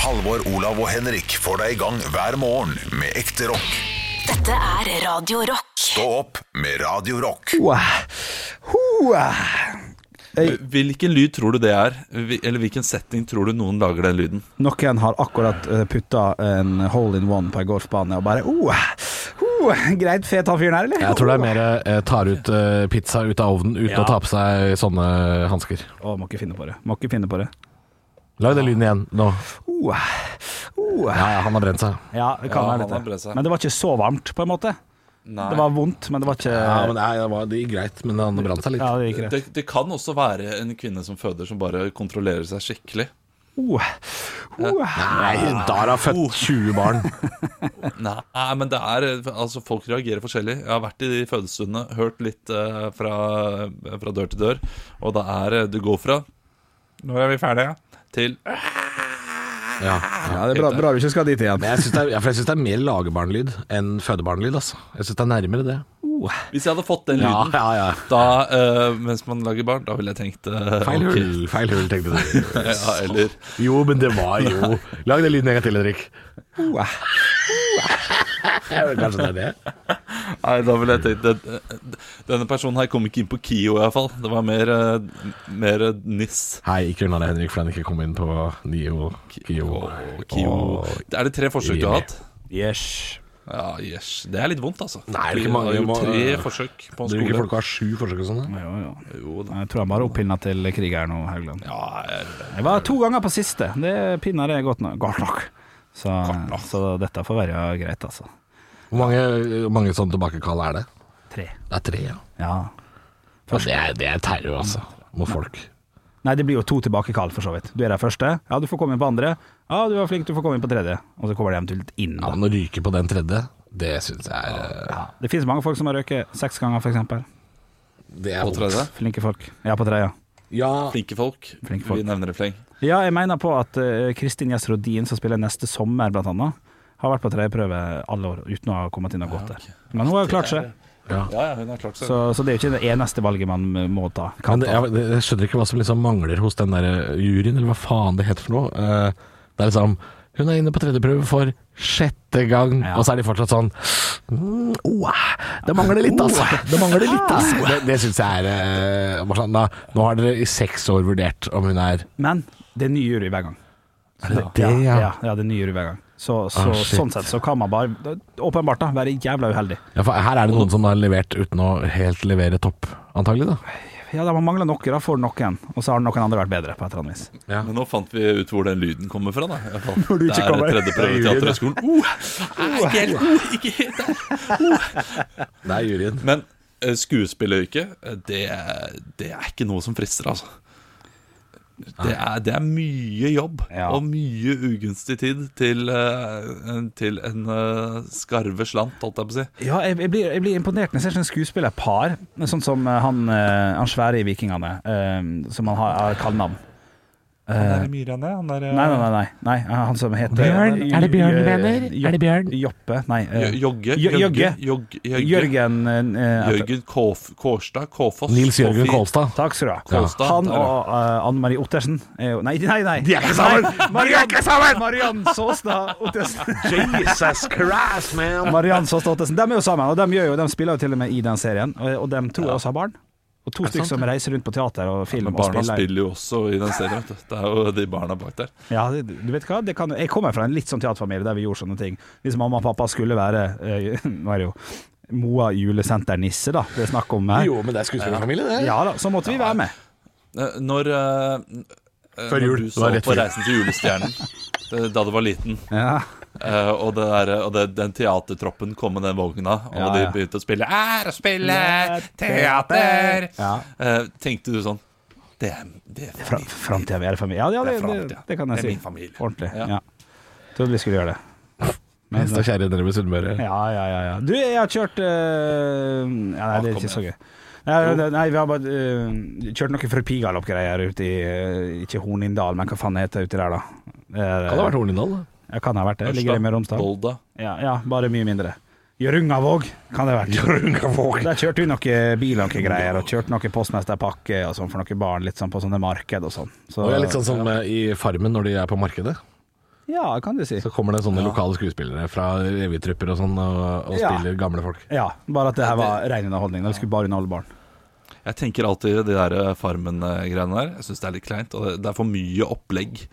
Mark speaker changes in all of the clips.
Speaker 1: Halvor, Olav og Henrik får deg i gang hver morgen med ekte rock.
Speaker 2: Dette er Radio Rock.
Speaker 1: Stå opp med Radio Rock.
Speaker 3: Hoa. Hoa.
Speaker 4: Hvilken lyd tror du det er? Hvil- Eller hvilken setting tror du noen lager den lyden?
Speaker 3: Noen har akkurat eh, putta en hole in one på ei golfbane og bare oh, oh, Greit fet han fyren her, eller?
Speaker 5: Jeg tror det er mer eh, tar ut eh, pizza ut av ovnen uten
Speaker 3: Ja.
Speaker 5: å ta på seg sånne hansker.
Speaker 3: Å, må ikke finne på det. Må ikke finne på det.
Speaker 5: Lag den lyden igjen nå.
Speaker 3: Oh, oh.
Speaker 5: Ja, ja, han har brent seg.
Speaker 3: Ja, det kan
Speaker 4: Ja, han
Speaker 3: være
Speaker 4: har brent
Speaker 3: dette.
Speaker 4: seg.
Speaker 3: Men det var ikke så varmt, på en måte. Det var vondt, men det var ikke
Speaker 5: Ja, men nei, det, var, det gikk greit, men han brant seg litt.
Speaker 3: Ja, det gikk greit.
Speaker 4: Det, det kan også være en kvinne som føder som bare kontrollerer seg skikkelig.
Speaker 3: Oh, oh.
Speaker 5: Nei, da har han født 20 barn.
Speaker 4: Nei, men det er Altså, folk reagerer forskjellig. Jeg har vært i de fødestuene, hørt litt eh, fra, fra dør til dør, og det er eh, Du går fra Nå er vi ferdige. Til
Speaker 5: Ja.
Speaker 3: Ja, det er bra, bra du ikke skal dit igjen.
Speaker 5: Men jeg syns det, er- ja, for jeg synes det er mer lagerbarnlyd enn fødebarnlyd. Altså. Jeg syns det er nærmere det.
Speaker 4: Hvis jeg hadde fått den
Speaker 5: Ja,
Speaker 4: lyden
Speaker 5: ja, ja.
Speaker 4: da, eh, mens man lager barn, da ville jeg tenkt eh,
Speaker 5: Feil
Speaker 4: ok.
Speaker 5: hull, feil hull, tenkte du.
Speaker 4: Ja, eller
Speaker 5: Jo, men det var jo Lag den lyden en gang til, Henrik.
Speaker 3: Oh,
Speaker 5: Ja, vel, Kanskje det er det.
Speaker 4: Nei, da ville jeg tenkt den, Denne personen her kom ikke inn på KIO i hvert fall Det var mer, eh, mer niss
Speaker 5: Hei, ikke unna deg, Henrik, for han ikke kom inn på Nio. Kio.
Speaker 4: KIO Er det tre forsøk du har hatt?
Speaker 3: yes.
Speaker 4: Ja, yes Det er litt vondt altså
Speaker 5: Nei, det er ikke
Speaker 4: Vi
Speaker 5: mange,
Speaker 4: har
Speaker 5: vi
Speaker 4: gjort
Speaker 5: må-
Speaker 4: tre forsøk på en
Speaker 5: Tror du ikke
Speaker 4: skole
Speaker 5: folk har sju forsøk og sånn? da?
Speaker 3: Jo, jo.
Speaker 4: Jo da
Speaker 3: Jeg tror han bare oppinna til krig her nå, Haugland.
Speaker 4: ja, er-
Speaker 3: Jeg var to ganger på siste. Det pinner er godt nok. Godt nok. Så, så dette får være greit, altså.
Speaker 5: Hvor mange, hvor mange sånne tilbakekall er det?
Speaker 3: Tre.
Speaker 5: Det er tre, ja.
Speaker 3: Ja.
Speaker 5: Ja, det, er, det er terror, altså, mot folk.
Speaker 3: Nei, det blir jo to tilbakekall, for så vidt. Du er der første. Ja, du får komme inn på andre. Ja, du var flink, du får komme inn på tredje. Og så kommer det eventuelt inn,
Speaker 5: Ja,
Speaker 3: da.
Speaker 5: men å ryke på den tredje, det syns jeg er eh,
Speaker 3: Det finnes mange folk som har røyket seks ganger, f.eks.
Speaker 5: Det er
Speaker 4: På tredje
Speaker 3: Flinke folk. Ja, på tredje.
Speaker 5: Ja,
Speaker 4: Flinke folk
Speaker 3: Flinke folk.
Speaker 4: Vi nevner det fleng
Speaker 3: Ja, jeg mener på at eh, Kristin Gjess Rodin, som spiller neste sommer, blant annet, har vært på tredjeprøve alle år uten å ha kommet inn og gått der. Men hun har jo klart seg,
Speaker 4: Ja, ja, hun har klart seg
Speaker 3: så, så det er jo ikke det eneste valget man må ta. Kan
Speaker 5: men det,
Speaker 3: ta.
Speaker 5: jeg, det- jeg skjønner ikke hva som liksom mangler hos den der eh, juryen, eller hva faen det heter for noe. Eh, Det er liksom Hun er inne på tredjeprøve for sjette gang,
Speaker 3: Ja.
Speaker 5: og så er de fortsatt sånn mm, oh, Det mangler litt, altså. Det mangler litt, altså. Det, det syns jeg er eh, bare sånn, da, Nå har dere i seks år vurdert om hun er
Speaker 3: Men det er ny jury hver gang.
Speaker 5: Er det det,
Speaker 3: ja?
Speaker 5: ja?
Speaker 3: Ja, ja det er ny jury hver gang. Så, så,
Speaker 5: Ah, shit.
Speaker 3: sånn sett så kan man bare, åpenbart da, være jævla uheldig.
Speaker 5: Ja, for her er det noen som har levert uten å helt levere topp, antagelig da.
Speaker 3: Ja, da man mangler noe, da får noen, og så har noen andre vært bedre på et eller annet vis.
Speaker 4: Men nå fant vi ut hvor den lyden kommer fra da i hvert fall.
Speaker 3: Hvor du
Speaker 4: Det
Speaker 3: ikke
Speaker 4: er
Speaker 3: kommer.
Speaker 4: tredje prøve til Teaterhøgskolen oh, Ikke helt, oh, ikke helt der
Speaker 5: Det er juryen.
Speaker 4: Men eh, skuespilleryrket, eh, det, det er ikke noe som frister, altså. Det er, det er mye jobb
Speaker 3: Ja.
Speaker 4: og mye ugunstig tid til, eh, en- til en eh, skarve slant, holdt jeg på å si.
Speaker 3: Ja, jeg, jeg, blir, jeg blir imponert når jeg ser sånn skuespillerpar, sånn som eh, han, eh, han svære i Vikingene, eh, som han har, har kallenavn.
Speaker 5: Eh.
Speaker 4: Han er Myrane, han er eh,
Speaker 3: Nei, nei, nei, nei, nei, han som heter
Speaker 5: Bjørn? Er det Bjørn vi mener?
Speaker 3: Jo-
Speaker 5: Er det Bjørn?
Speaker 3: Joppe, nei. eh,
Speaker 4: Jogge.
Speaker 3: Jo-
Speaker 4: Jogge.
Speaker 3: Jøgge. Jørgen eh, eh,
Speaker 4: Jørgen Kåf, Kårstad. Kåfoss.
Speaker 5: Nils Jørgen
Speaker 4: Kåfi.
Speaker 5: Kolstad.
Speaker 3: Takk skal du ha.
Speaker 4: Kolstad,
Speaker 3: Han
Speaker 4: der,
Speaker 3: og eh, Anne Marie Ottersen er jo Nei, nei, nei! De er ikke sammen! Mariann Mariann Saastad Ottersen.
Speaker 5: Jesus Christ, man!
Speaker 3: Mariann Saastad Ottersen. De er jo sammen, og de, gjør jo, de spiller jo til og med i den serien. Og, og de tror jeg også har barn. Og to stykker som reiser rundt på teater og film
Speaker 4: Men
Speaker 3: og
Speaker 4: barna
Speaker 3: spiller.
Speaker 4: spiller jo også i den serien. vet du. Det er jo de barna bak der.
Speaker 3: Ja, det, du vet hva? Det kan, jeg kommer fra en litt sånn teaterfamilie der vi gjorde sånne ting. Hvis mamma og pappa skulle være eh, Nå er det jo Moa julesenter-nisse, da, det er snakk om her.
Speaker 5: Jo, men det er skuespillerfamilie, det.
Speaker 3: Ja da, så måtte vi være med.
Speaker 4: Eh, Når eh, eh,
Speaker 5: Før jul.
Speaker 4: Når du
Speaker 5: Det var
Speaker 4: så
Speaker 5: rett
Speaker 4: på
Speaker 5: før jul.
Speaker 4: Reisen til julestjernen eh, da du var liten,
Speaker 3: Ja.
Speaker 4: Eh, og det der, og det, den teatertroppen kom med den vogna, og
Speaker 3: Ja,
Speaker 4: de
Speaker 3: ja.
Speaker 4: begynte å spille Er å spille teater!
Speaker 3: Ja.
Speaker 4: Eh, tenkte du sånn Det er, det er
Speaker 3: Fra, framtida vi er i familie. Ja, ja det,
Speaker 4: Det er
Speaker 3: det, det,
Speaker 4: framtida.
Speaker 3: kan jeg
Speaker 4: Det
Speaker 3: si.
Speaker 4: er min familie.
Speaker 3: Ordentlig.
Speaker 4: Ja.
Speaker 3: Ja. Trodde vi skulle gjøre det.
Speaker 5: Hest og kjerre nede ved Sunnmøre.
Speaker 3: Ja, ja, ja. ja. Du, jeg har kjørt eh, ja, Nei, det er
Speaker 4: kom
Speaker 3: ikke så gøy.
Speaker 4: igjen.
Speaker 3: Nei, nei, nei, vi har bare eh, kjørt noe forpigaloppgreier ute i eh, Ikke Hornindal, men hva faen heter det uti der, da? Eh,
Speaker 5: Kan det ha vært Hornindal, da?
Speaker 3: Ja, kan det ha vært det. Ligger det med Romsdal?
Speaker 4: Volda.
Speaker 3: Ja, ja, bare mye mindre. Gjørungavåg kan det ha vært. Der kjørte vi noen biler og noen greier, og kjørte noen postmesterpakke og sånn for noen barn, litt sånn på sånne marked og sånn. Så,
Speaker 5: Og det er litt sånn som eh, i Farmen når de er på markedet.
Speaker 3: Ja, kan du si.
Speaker 5: Så kommer det sånne lokale skuespillere fra revytrupper og sånn og, og
Speaker 3: Ja.
Speaker 5: spiller gamle folk.
Speaker 3: Ja, bare at det her var ren underholdning. De skulle bare underholde barn.
Speaker 4: Jeg tenker alltid de der eh, Farmen-greiene der. Jeg syns det er litt kleint. Og det- det er for mye opplegg.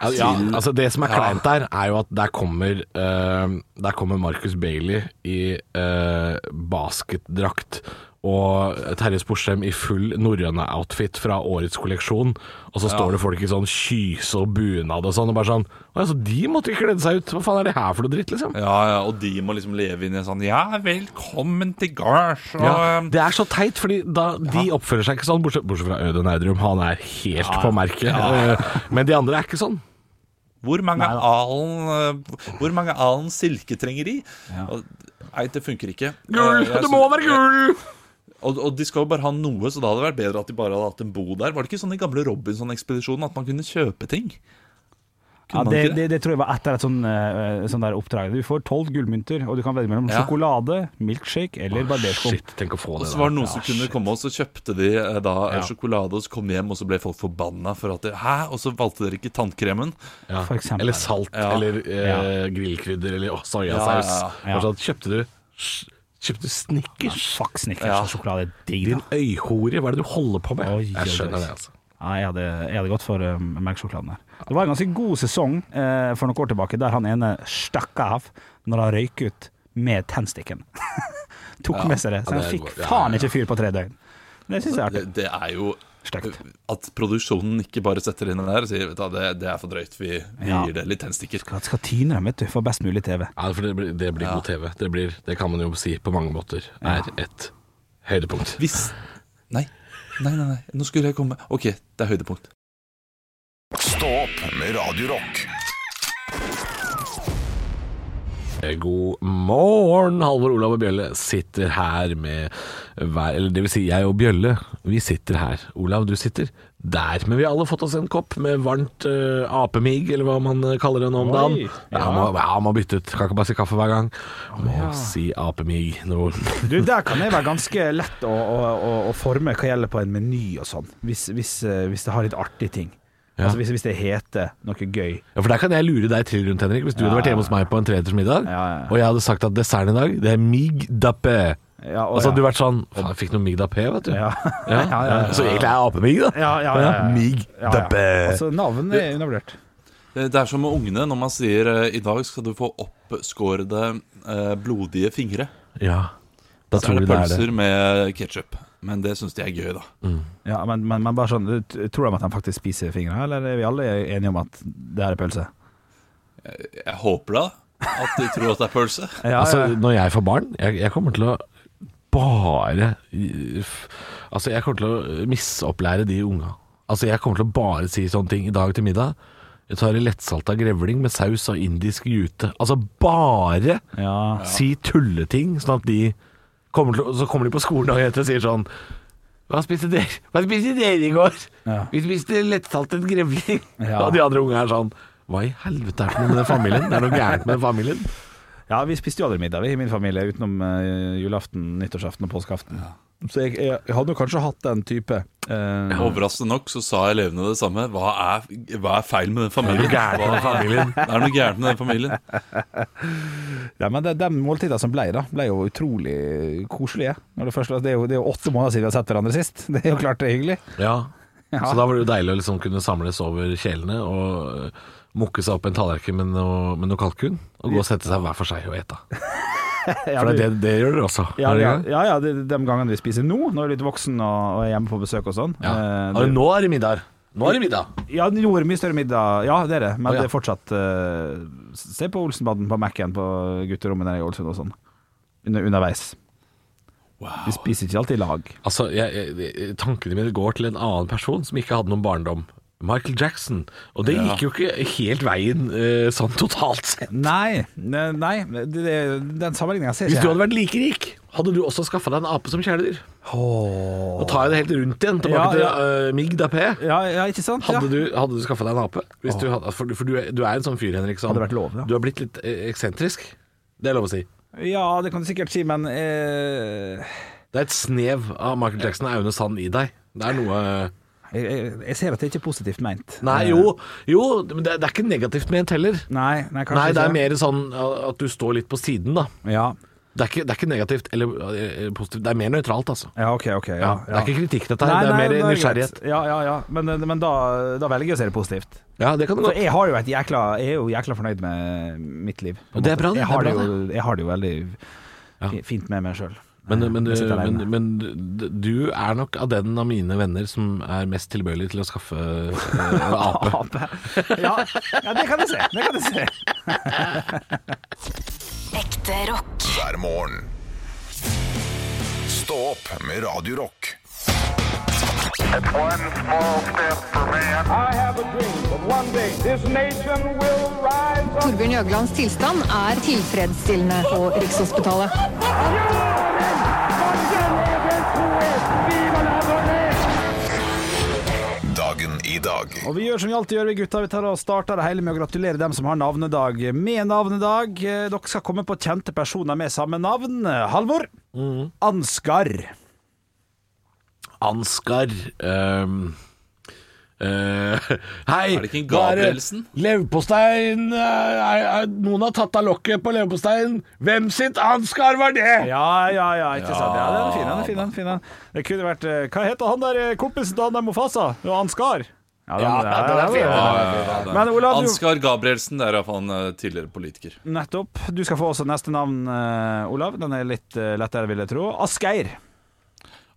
Speaker 5: Ja, ja, altså Det som er
Speaker 4: Ja.
Speaker 5: kleint der, er jo at der kommer eh, Der kommer Marcus Bailey i eh, basketdrakt og Terje Sporsem i full norrøne outfit fra årets kolleksjon, og så står det folk i sånn kyse og bunad og sånn, og bare sånn «Å ja, så de måtte ikke kledd seg ut! Hva faen er det her for noe dritt, liksom?
Speaker 4: Ja, ja, Og de må liksom leve inn i en sånn Ja, velkommen til gards. Og,
Speaker 5: Ja,
Speaker 4: ehm,
Speaker 5: det er så teit, fordi da, de oppfører seg ikke sånn, bortsett, bortsett fra Audun Eidrum. Han er helt på merket. Eh, Men de andre er ikke sånn.
Speaker 4: hvor mange alen eh, Hvor mange alen silke trenger de? Og- Nei, det funker ikke. Eh, jeg synes-
Speaker 5: gull!
Speaker 4: Og, og de skal jo bare ha noe, så da hadde det vært bedre at de bare hadde hatt en bo der. Var det ikke sånn i gamle Robinson-ekspedisjonen at man kunne kjøpe ting?
Speaker 3: Ja,
Speaker 4: Kunne man
Speaker 3: det,
Speaker 4: ikke
Speaker 3: det, det tror jeg var etter et sånn, eh, sånn der oppdrag. Du får tolv gullmynter, og du kan velge mellom
Speaker 4: Ja.
Speaker 3: sjokolade, milkshake eller barberskum.
Speaker 5: Shit, tenk å få
Speaker 4: Og
Speaker 5: det.
Speaker 4: så
Speaker 5: da.
Speaker 4: var det noen
Speaker 5: Ja,
Speaker 4: som kunne komme, og så kjøpte de eh, da eh, sjokolade, og så kom de hjem, og så ble folk forbanna for at de, Hæ? Og så valgte dere ikke tannkremen?
Speaker 5: Ja.
Speaker 3: For eksempel.
Speaker 5: eller salt,
Speaker 4: Ja.
Speaker 5: eller eh, grillkrydder, eller å, soyasaus.
Speaker 4: Ja,
Speaker 3: ja, ja.
Speaker 5: Og sånn, kjøpte du sj- Kjøpte du Snickers?
Speaker 3: Fuck snickers
Speaker 4: Ja.
Speaker 3: og sjokolade. Digg,
Speaker 5: Din
Speaker 3: da.
Speaker 5: øyhore, hva er det du holder på med?
Speaker 3: Oi, oi,
Speaker 5: jeg skjønner
Speaker 3: oi.
Speaker 5: det, altså.
Speaker 3: Ja, jeg, hadde, jeg hadde gått for um, melkesjokoladen der. Det var en ganske god sesong eh, for noen år tilbake der han ene stakk av når han røyk ut med tennstikken. Tok med seg det. Så han
Speaker 5: ja, det er
Speaker 3: fikk
Speaker 5: god- ja,
Speaker 3: faen
Speaker 5: ja, ja.
Speaker 3: ikke fyr på tre døgn. Det syns jeg er
Speaker 4: Det,
Speaker 3: artig.
Speaker 4: det er jo eh,
Speaker 3: Stygt.
Speaker 4: At produksjonen ikke bare setter inn den der og sier vet du, hva, det, det er for drøyt, vi, vi
Speaker 3: Ja.
Speaker 4: gir det litt tennstikker.
Speaker 3: Skal, skal tyne dem, vet du, for best mulig TV.
Speaker 5: Ja, for det blir, det blir god TV. Det, blir, det kan man jo si på mange måter er et høydepunkt.
Speaker 4: Hvis Nei. Nei, nei, nei, nå skulle jeg komme OK, det er høydepunkt.
Speaker 1: Stå opp med Radio Rock.
Speaker 5: Eh, God morgen! Halvor Olav og Bjølle sitter her med hver Eller det vil si, jeg og Bjølle, vi sitter her. Olav, du sitter der. Men vi har alle fått oss en kopp med varmt eh, apemigg, eller hva man eh, kaller det nå om
Speaker 3: Oi,
Speaker 5: dagen.
Speaker 3: ja.
Speaker 5: Ja, må, ja, må bytte ut. Kan ikke bare si kaffe hver gang. Må si apemigg nå.
Speaker 3: Du, Der kan det være ganske lett å, å, å, å forme hva gjelder på en meny og sånn, hvis, hvis, eh, hvis det har litt artige ting.
Speaker 5: Ja.
Speaker 3: Altså hvis, hvis det heter noe gøy.
Speaker 5: Ja, for der kan jeg lure deg til rundt, Henrik. Hvis du hadde vært hjemme hos meg på en treretters middag,
Speaker 3: Ja, ja.
Speaker 5: og jeg hadde sagt at desserten i dag, det er mig dappe.
Speaker 3: Ja,
Speaker 5: Og så hadde
Speaker 3: ja.
Speaker 5: du vært sånn Faen, jeg fikk noe mig dappe, vet du.
Speaker 3: Ja.
Speaker 5: Ja.
Speaker 3: Ja, ja, ja.
Speaker 5: Så egentlig er jeg apemigg, da.
Speaker 3: Ja, ja, ja, ja.
Speaker 5: Mig
Speaker 3: Ja, ja.
Speaker 5: dappe.
Speaker 3: Altså, navnet er undervurdert.
Speaker 4: Eh, Det er som med ungene når man sier eh, i dag skal du få oppskårede eh, blodige fingre.
Speaker 5: Ja. Da
Speaker 4: Så er
Speaker 5: tror
Speaker 4: det
Speaker 5: vi det er det.
Speaker 4: pølser med ketsjup. Men det syns de er gøy, da.
Speaker 3: Ja, men, men, men bare sånn t- Tror de at de faktisk spiser fingrene, eller er vi alle enige om at det her er pølse?
Speaker 4: Jeg håper da at de tror at det er pølse.
Speaker 3: Ja,
Speaker 5: Altså,
Speaker 3: ja.
Speaker 5: når jeg får barn, jeg, jeg kommer til å bare f- Altså, jeg kommer til å misopplære de unga. Altså, jeg kommer til å bare si sånne ting i dag til middag. Jeg tar lettsalta grevling med saus og indisk jute. Altså, bare
Speaker 3: Ja.
Speaker 5: si tulleting, sånn at de kommer til, å- Så kommer de på skolen dagen etter og sier sånn hva spiste dere Hva spiste dere i går?
Speaker 3: Ja.
Speaker 5: Vi spiste lettsaltet grevling.
Speaker 3: Ja.
Speaker 5: Og de andre ungene er sånn Hva i helvete er det for noe med den familien? Det er noe gærent med den familien.
Speaker 3: ja, vi spiste jo aldri middag, vi i min familie, utenom eh, julaften, nyttårsaften og påskeaften. Så jeg, jeg, jeg hadde jo kanskje hatt den type. eh,
Speaker 4: Overraskende nok så sa elevene det samme. Hva er, hva er feil med den
Speaker 5: Det er
Speaker 4: familien?
Speaker 5: noe gærent med den familien.
Speaker 4: Det er noe gærent med den familien.
Speaker 3: Ja, men det, De måltidene som ble, da, ble jo utrolig koselige. Når det, først, det, er jo, det er jo åtte måneder siden vi har sett hverandre sist. Det er jo klart det er hyggelig.
Speaker 5: Ja. Så da var det jo deilig å liksom kunne samles over kjelene og øh, mukke seg opp en tallerken med noe, med noe kalkun, og gå og sette seg hver for seg og ete.
Speaker 3: Ja,
Speaker 5: For det,
Speaker 3: du-
Speaker 5: det, det gjør dere også.
Speaker 3: ja,
Speaker 5: er dere
Speaker 3: ja,
Speaker 5: ikke?
Speaker 3: ja, ja de, de gangene vi spiser nå, når jeg er litt voksen og, og er hjemme på besøk og sånn.
Speaker 5: Ja.
Speaker 3: Eh,
Speaker 5: Og
Speaker 3: det-
Speaker 5: nå er det middag. Nå er det middag.
Speaker 3: Ja, den gjorde mye større middag. Ja, det er det, men
Speaker 5: Å, ja.
Speaker 3: det er fortsatt eh, Se på Olsenbanden på Mac-en på gutterommet der i Ålesund og sånn. Under, underveis. Vi spiser ikke alltid i lag.
Speaker 5: Altså, jeg, jeg, jeg- tankene mine går til en annen person som ikke hadde noen barndom. Michael Jackson. Og det gikk jo ikke helt veien øh, sånn totalt sett.
Speaker 3: Nei, ne- nei det, det, den sammenligninga ser
Speaker 5: Hvis du
Speaker 3: ikke
Speaker 5: hadde vært like rik, hadde du også skaffa deg en ape som kjæledyr. Og tar jeg det helt rundt igjen,
Speaker 3: Ja,
Speaker 5: tilbake
Speaker 3: ja.
Speaker 5: til øh, Mig Dapé.
Speaker 3: jeg. Ja, ja, ikke sant?
Speaker 5: Hadde
Speaker 3: ja.
Speaker 5: du, hadde du skaffa deg en ape? Hvis du hadde, for for du, er- du er en sånn fyr, Henrik. Som,
Speaker 3: Hadde vært lov, ja.
Speaker 5: Du har blitt litt eh, eksentrisk. Det er lov å si.
Speaker 3: ja, det kan du sikkert si, men eh,
Speaker 5: Det er et snev av Michael Jackson og Aune Sand i deg. Det er noe eh,
Speaker 3: Jeg, jeg, jeg ser at det ikke er positivt ment. Eh,
Speaker 5: Nei, jo, jo men det, det er ikke negativt ment heller.
Speaker 3: Nei, nei, kanskje
Speaker 5: Nei, det er
Speaker 3: ikke.
Speaker 5: mer sånn uh, at du står litt på siden, da.
Speaker 3: Ja,
Speaker 5: Det er ikke, det er ikke negativt eller uh, positivt. Det er mer nøytralt, altså.
Speaker 3: ja OK. ok ja,
Speaker 5: Ja, Det er ikke kritikk, dette her. det er mer
Speaker 3: da greit.
Speaker 5: nysgjerrighet.
Speaker 3: Ja, ja, ja. Men, men da, da velger jeg å se det positivt.
Speaker 5: Ja, det kan du
Speaker 3: For
Speaker 5: godt.
Speaker 3: jeg, har jo et jækla, jeg er jo jækla fornøyd med mitt liv. på en
Speaker 5: Det er
Speaker 3: måte.
Speaker 5: bra, det.
Speaker 3: Jeg har
Speaker 5: Det
Speaker 3: det,
Speaker 5: er bra,
Speaker 3: jo, jeg har det jo veldig
Speaker 5: Ja.
Speaker 3: fi- fint med meg sjøl.
Speaker 5: Men, men, du- men, men du- du er nok av den av mine venner som er mest tilbøyelig til å skaffe uh, en ape.
Speaker 3: Ape. Ja, ja, det kan jeg se. Det kan jeg se.
Speaker 2: Ekte rock.
Speaker 1: hver morgen. Stå opp med Radio Rock.
Speaker 6: One small step for man.
Speaker 7: I have a dream that one day this nation will rise up.
Speaker 8: Torbjørn Jøglands tilstand er tilfredsstillende på Rikshospitalet.
Speaker 1: Dagen i dag.
Speaker 3: Og vi gjør som vi alltid gjør, vi gutta. Vi tar og starter det hele med å gratulere dem som har navnedag med navnedag. Eh, Dere skal komme på kjente personer med samme navn. Halvor.
Speaker 5: Mhm.
Speaker 3: Ansgar.
Speaker 5: Ansgar ehm, eh, Hei!
Speaker 4: Er det ikke en
Speaker 5: hva er det?
Speaker 4: Gabrielsen?
Speaker 5: Leverpostein eh, er- er- Noen har tatt av lokket på leverposteien. Hvem sitt Ansgar var det?
Speaker 3: Ja, ja, ja, ikke sant. Ja, den er fin, den er fin. Den er fin, den. Det kunne vært eh, Hva heter han der eh, kompisen til han der Mofasa? Jo, Ansgar. Ja, den,
Speaker 5: Ja, den er fin.
Speaker 3: Men Olav, du,
Speaker 4: Ansgar Gabrielsen, det er iallfall en eh, tidligere politiker.
Speaker 3: nettopp. Du skal få også neste navn, eh, Olav. Den er litt eh, lettere, vil jeg tro. Asgeir.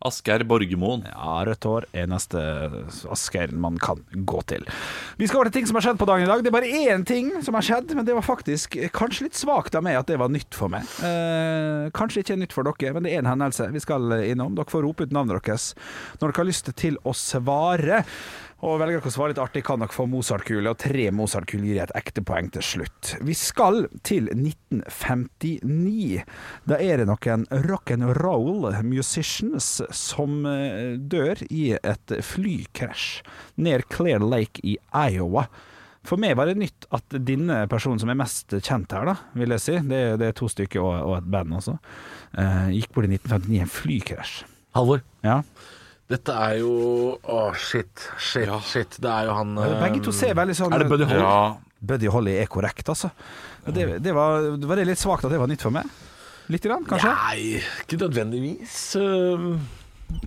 Speaker 4: Asgeir Borgermoen.
Speaker 3: Ja, rødt hår er neste Asgeir man kan gå til. Vi skal over til ting som har skjedd på dagen i dag. Det er bare én ting som har skjedd, men det var faktisk kanskje litt svakt av meg at det var nytt for meg. Eh, kanskje ikke nytt for dere, men det er en hendelse vi skal innom. Dere får rope ut navnet deres når dere har lyst til å svare. Og velger dere å svare litt artig, kan dere få Mozart-kule, og tre Mozart-kuler gir et ekte poeng til slutt. Vi skal til 1959. Da er det noen rock'n'roll musicians som eh, dør i et flykrasj nær Clear Lake i Iowa. For meg var det nytt at denne personen som er mest kjent her, da, vil jeg si, det, er- det er to stykker og, og et band også, eh, gikk bort i 1959 i en flykrasj.
Speaker 5: Halvor.
Speaker 3: Ja.
Speaker 5: Dette er jo Å, shit. Shit, shit. Det er jo han eh,
Speaker 3: Begge to ser veldig sånn
Speaker 5: Er det Buddy Holly?
Speaker 3: Buddy Holly er korrekt, altså. Det, det var, var det litt svakt at det var nytt for meg? Litt, grann, kanskje?
Speaker 5: Nei, ikke nødvendigvis. ehm,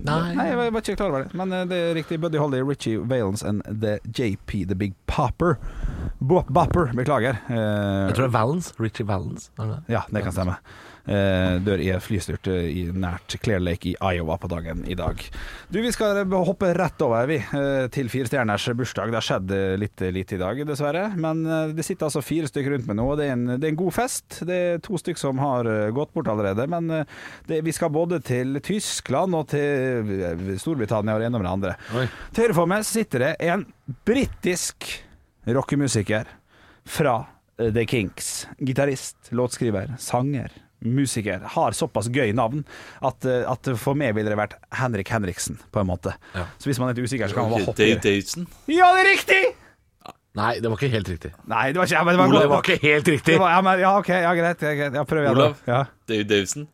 Speaker 3: Nei, jeg
Speaker 5: nei.
Speaker 3: var var ikke klar over det. Men eh, det er riktig. Buddy Holly, Richie Valens and the JP The Big Popper. Bo Bopper, beklager. Eh,
Speaker 5: Jeg tror det er Valens. Richie Valens. Er det det?
Speaker 3: Ja, det kan stemme. Eh, dør i en flystyrt eh, i nært Clear Lake i Iowa på dagen i dag. Du, Vi skal eh, hoppe rett over vi, eh, til firestjerners bursdag. Det har skjedd eh, litt eh, lite i dag, dessverre. Men eh, det sitter altså fire stykker rundt meg nå, og det er, en, det er en god fest. Det er to stykker som har eh, gått bort allerede. Men eh, det, vi skal både til Tyskland og til eh, Storbritannia og det ene med det andre.
Speaker 5: Oi.
Speaker 3: Til høyre for meg sitter det en britisk rockemusiker fra eh, The Kinks. Gitarist, låtskriver, sanger, musiker. Har såpass gøy navn at, eh, at for meg ville det vært Henrik Henriksen, på en måte. Så hvis man er litt usikker, så kan man
Speaker 4: Ok,
Speaker 3: bare hoppe i
Speaker 4: Dave
Speaker 3: det.
Speaker 4: Davidson.
Speaker 3: Ja, det er riktig!
Speaker 5: Nei, det var ikke helt riktig.
Speaker 3: Nei, det var ikke ja, men det var
Speaker 5: Det
Speaker 3: godt
Speaker 5: var
Speaker 3: nok.
Speaker 5: ikke helt riktig.
Speaker 3: Det var, ja, men, ja, ok, ja, greit. Ja, greit. Ja, prøv igjen. da.
Speaker 4: Olav.
Speaker 3: Ja.
Speaker 4: Dave Davidson.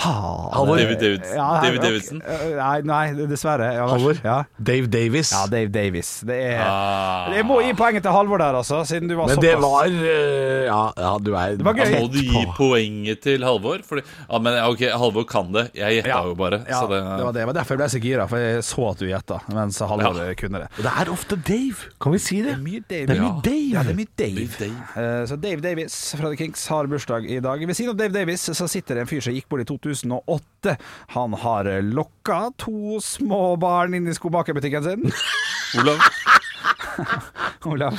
Speaker 3: Halvor.
Speaker 4: David Davidson.
Speaker 3: Ja,
Speaker 4: David
Speaker 3: ok.
Speaker 4: Davidson.
Speaker 3: Nei, nei, dessverre. Ja, vær-
Speaker 5: Halvor.
Speaker 3: Ja.
Speaker 5: Dave Davis.
Speaker 3: ja, Dave Davis. Det er
Speaker 4: Ah.
Speaker 3: Jeg må gi poenget til Halvor der, altså, siden du var
Speaker 5: Men
Speaker 3: såpass
Speaker 5: det var eh, Ja, ja du er
Speaker 3: var gøy.
Speaker 4: Da må du gi poenget til Halvor. Fordi, ja, men ja, ok, Halvor kan det. Jeg gjetta jo bare.
Speaker 3: Ja,
Speaker 4: så
Speaker 3: det, var det. det var derfor jeg ble så gira, for jeg så at du gjetta, mens Halvor
Speaker 4: Ja.
Speaker 3: kunne det.
Speaker 5: Og Altså, det er ofte Dave, kan vi si det?
Speaker 3: Mye Dave.
Speaker 5: Det er mye Dave.
Speaker 3: Ja, det er mye Dave.
Speaker 4: Mye Dave.
Speaker 3: Eh, så Dave Davis fra The Kinks har bursdag i dag. Ved siden av Dave Davis så sitter det en fyr som gikk bort i 2008. Han har lokka to små barn inn i skobakerbutikken sin.
Speaker 4: Olav.
Speaker 3: Olav.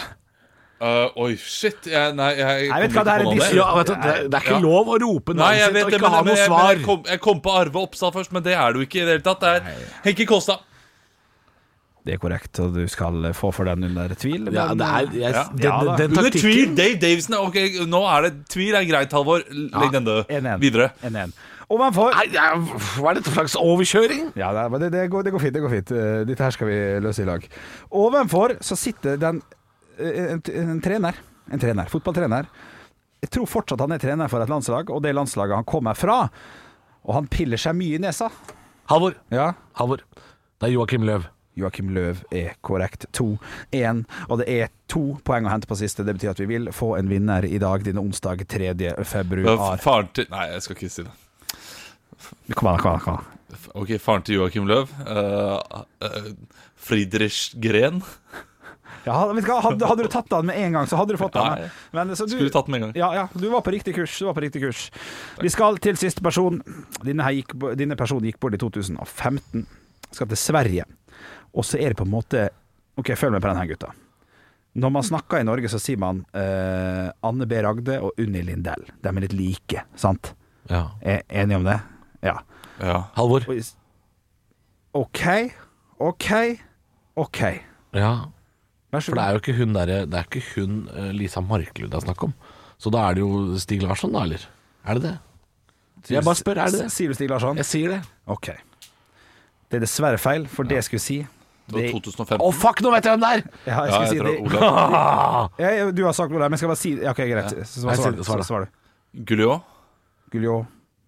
Speaker 4: Eh, oi, shit. Jeg, nei, jeg,
Speaker 3: Jeg vet hva,
Speaker 4: kommer
Speaker 3: det er en
Speaker 4: ikke på noe
Speaker 3: dis-
Speaker 4: av
Speaker 5: Ja, vet du, det, det er ikke
Speaker 4: Ja.
Speaker 5: lov å rope
Speaker 4: Nei, jeg
Speaker 5: navnet sitt
Speaker 4: vet
Speaker 5: og
Speaker 4: det,
Speaker 5: ikke
Speaker 4: men,
Speaker 5: ha
Speaker 4: men,
Speaker 5: noe
Speaker 4: jeg, men
Speaker 5: svar.
Speaker 4: jeg, kom, jeg kom på Arve Oppsal først, men det er du ikke i det hele tatt. Det er Henki Kåstad.
Speaker 3: Det er korrekt, og du skal få for den under tvil.
Speaker 5: Ja, det er, jeg,
Speaker 4: Ja.
Speaker 5: den,
Speaker 3: Ja, da.
Speaker 5: den, den
Speaker 4: Under tvil!
Speaker 5: taktikken
Speaker 4: Dave Davison. er- Ok, nå er det Tvil er greit, Halvor. Legg den død.
Speaker 3: 1-1.
Speaker 4: Videre.
Speaker 3: 1-1. Ovenfor
Speaker 5: Nei, ja, Hva er dette for slags overkjøring?
Speaker 3: Ja, det, men det, det, går, det går fint. det går fint Eh, Dette her skal vi løse i lag. Ovenfor så sitter den eh, en, en trener. En trener, fotballtrener. Jeg tror fortsatt han er trener for et landslag, og det landslaget han kommer fra. Og han piller seg mye i nesa.
Speaker 5: Halvor,
Speaker 3: Ja,
Speaker 5: Halvor. Det er Joakim Løv.
Speaker 3: Joakim Løv er korrekt. 2-1. Og det er to poeng å hente på siste. Det betyr at vi vil få en vinner i dag, denne onsdag 3. februar.
Speaker 4: Faren til Nei, jeg skal ikke si det.
Speaker 3: Kom an, kom an. kom an
Speaker 4: Ok, faren til Joakim Løv. eh, eh, Friedrich Gren.
Speaker 3: ja, had- vet du hva? Hadde, hadde du tatt den med en gang, så hadde du fått
Speaker 4: Nei.
Speaker 3: den. Men, så du,
Speaker 4: Skulle tatt den med en gang.
Speaker 3: Ja, ja, du var på riktig kurs. Du var på riktig kurs. Vi skal til siste person. Denne, her gikk, bo- denne personen gikk bort i 2015. Skal til Sverige. Og så er det på en måte Ok, følg med på den her, gutta. Når man snakker i Norge, så sier man eh, Anne B. Ragde og Unni Lindell. De er litt like, sant?
Speaker 5: Ja.
Speaker 3: Er enige om det? Ja.
Speaker 4: Ja.
Speaker 5: Halvor.
Speaker 3: Og is- OK, OK, OK.
Speaker 5: Ja.
Speaker 3: Vær så god.
Speaker 5: For det er jo ikke hun derre Det er ikke hun eh, Lisa Marklund det er snakk om. Så da er det jo Stig Larsson, da, eller? Er det det? Jeg bare spør, er det det?
Speaker 3: Sier du Stig Larsson?
Speaker 5: Jeg sier det.
Speaker 3: Ok. Det er dessverre feil, for det jeg skulle si
Speaker 4: Det var
Speaker 3: det-
Speaker 4: 2005.
Speaker 5: Å, fuck, nå vet jeg hvem det er!
Speaker 3: Ja, jeg
Speaker 4: Ja,
Speaker 3: skulle
Speaker 4: jeg
Speaker 3: si
Speaker 4: tror
Speaker 3: det.
Speaker 4: Olav
Speaker 5: Ah!
Speaker 3: Ja, ja, du har sagt Olav, men jeg skal bare si ja, Ok, greit. Så
Speaker 5: Nei,
Speaker 3: svar,
Speaker 5: si
Speaker 3: svar,
Speaker 5: det,
Speaker 3: du,
Speaker 5: svar
Speaker 3: svar,
Speaker 5: det.
Speaker 3: svar du.
Speaker 4: Gullio.
Speaker 3: Gullio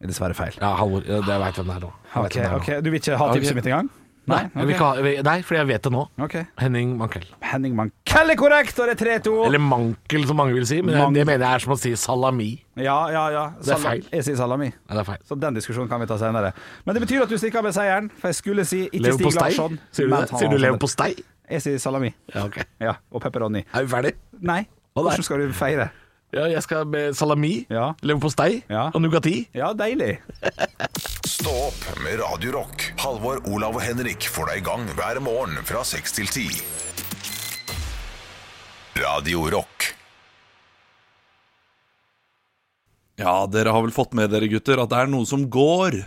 Speaker 3: er dessverre feil.
Speaker 5: Ja, Halvor. ja, det- Jeg veit hvem det er nå. Jeg vet
Speaker 3: Ok,
Speaker 5: hvem det er nå.
Speaker 3: ok, Du vil ikke ha tipset
Speaker 4: Ok.
Speaker 3: mitt engang?
Speaker 5: Nei, jeg vil
Speaker 3: ok.
Speaker 5: ikke ha, jeg vil- nei, fordi jeg vet det nå.
Speaker 3: Ok.
Speaker 5: Henning Mankell.
Speaker 3: Henning Mankell er korrekt, og det er 3-2.
Speaker 5: Eller Mankel, som mange vil si. Men
Speaker 3: Mank-
Speaker 5: det mener jeg er som å si salami.
Speaker 3: Ja, ja, ja.
Speaker 5: Det er
Speaker 3: Sala-
Speaker 5: feil.
Speaker 3: Jeg sier salami.
Speaker 5: Nei, det er feil.
Speaker 3: Så den diskusjonen kan vi ta senere. Men det betyr at du stikker av med seieren, for jeg skulle si ikke Stig
Speaker 5: Leverpostei?
Speaker 3: Larsson.
Speaker 5: Sier du
Speaker 3: men
Speaker 5: det?
Speaker 3: han
Speaker 5: Sier du
Speaker 3: har-
Speaker 5: leverpostei?
Speaker 3: Jeg sier salami.
Speaker 5: Ja, ok.
Speaker 3: Ja, og pepperoni.
Speaker 5: Er vi ferdig?
Speaker 3: Nei.
Speaker 5: Å, nei.
Speaker 3: Hvordan skal du feire?
Speaker 5: Ja, jeg skal med salami,
Speaker 3: Ja.
Speaker 5: leverpostei
Speaker 3: Ja.
Speaker 5: og nougatti.
Speaker 3: Ja, deilig.
Speaker 1: Stå opp med Radio Rock. Halvor, Olav og Henrik får deg i gang hver morgen fra 6 til 10. Radio Rock.
Speaker 4: Ja, dere har vel fått med dere, gutter, at det er noe som går.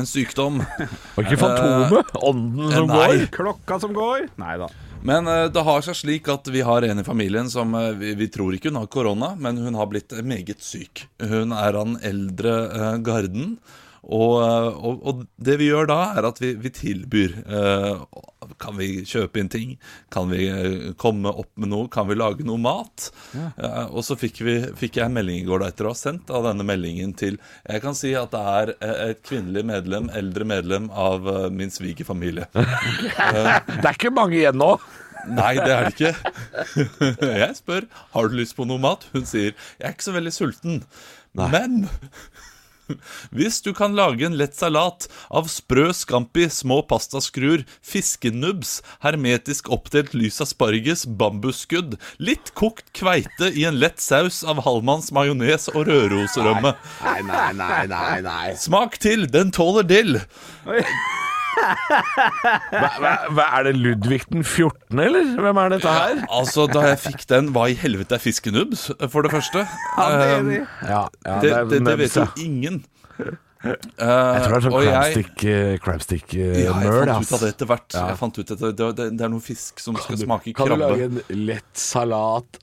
Speaker 4: En sykdom. Eh,
Speaker 5: Var ikke Fantomet Eh, ånden som
Speaker 4: Nei.
Speaker 5: går?
Speaker 3: Klokka som går. Nei da.
Speaker 4: Men eh, det har seg slik at vi har en i familien som eh, vi, vi tror ikke hun har korona, men hun har blitt eh, meget syk. Hun er av den eldre eh, garden. Og, eh, og, og det vi gjør da, er at vi, vi tilbyr eh, Kan vi kjøpe inn ting? Kan vi eh, komme opp med noe? Kan vi lage noe mat? Eh, og så fikk, vi, fikk jeg en melding i går da etter å ha sendt av denne meldingen til Jeg kan si at det er eh, et kvinnelig medlem, eldre medlem av eh, min svigerfamilie.
Speaker 5: Det er ikke mange igjen nå.
Speaker 4: Nei, det er det ikke. Jeg spør har du lyst på noe mat. Hun sier jeg er ikke så veldig sulten. Men hvis du kan lage en lett salat av sprø scampi, små pastaskruer, fiskenubs, hermetisk oppdelt lys asparges, bambusskudd, litt kokt kveite i en lett saus av halvmanns majones og rødrosrømme
Speaker 5: Nei, nei, nei, nei, nei.
Speaker 4: Smak til, den tåler dill!
Speaker 5: Hva, hva, hva, er det Ludvig den 14., eller? Hvem er dette her?
Speaker 4: Altså, da jeg fikk den, hva i helvete er fiskenubs, for det første? Ehm,
Speaker 3: Enig.
Speaker 5: Ja, ja,
Speaker 4: det, det, det vet
Speaker 5: jeg.
Speaker 4: jo ingen. Eh,
Speaker 5: Jeg tror det er sånn
Speaker 4: og jeg-
Speaker 5: eh,
Speaker 4: Ja, jeg
Speaker 5: crabstick-møl.
Speaker 4: fant ut av det etter hvert. Jeg fant ut at det, det, det, det er noe fisk som skal smake
Speaker 5: Kan du
Speaker 4: krabbe.
Speaker 5: lage en lett salat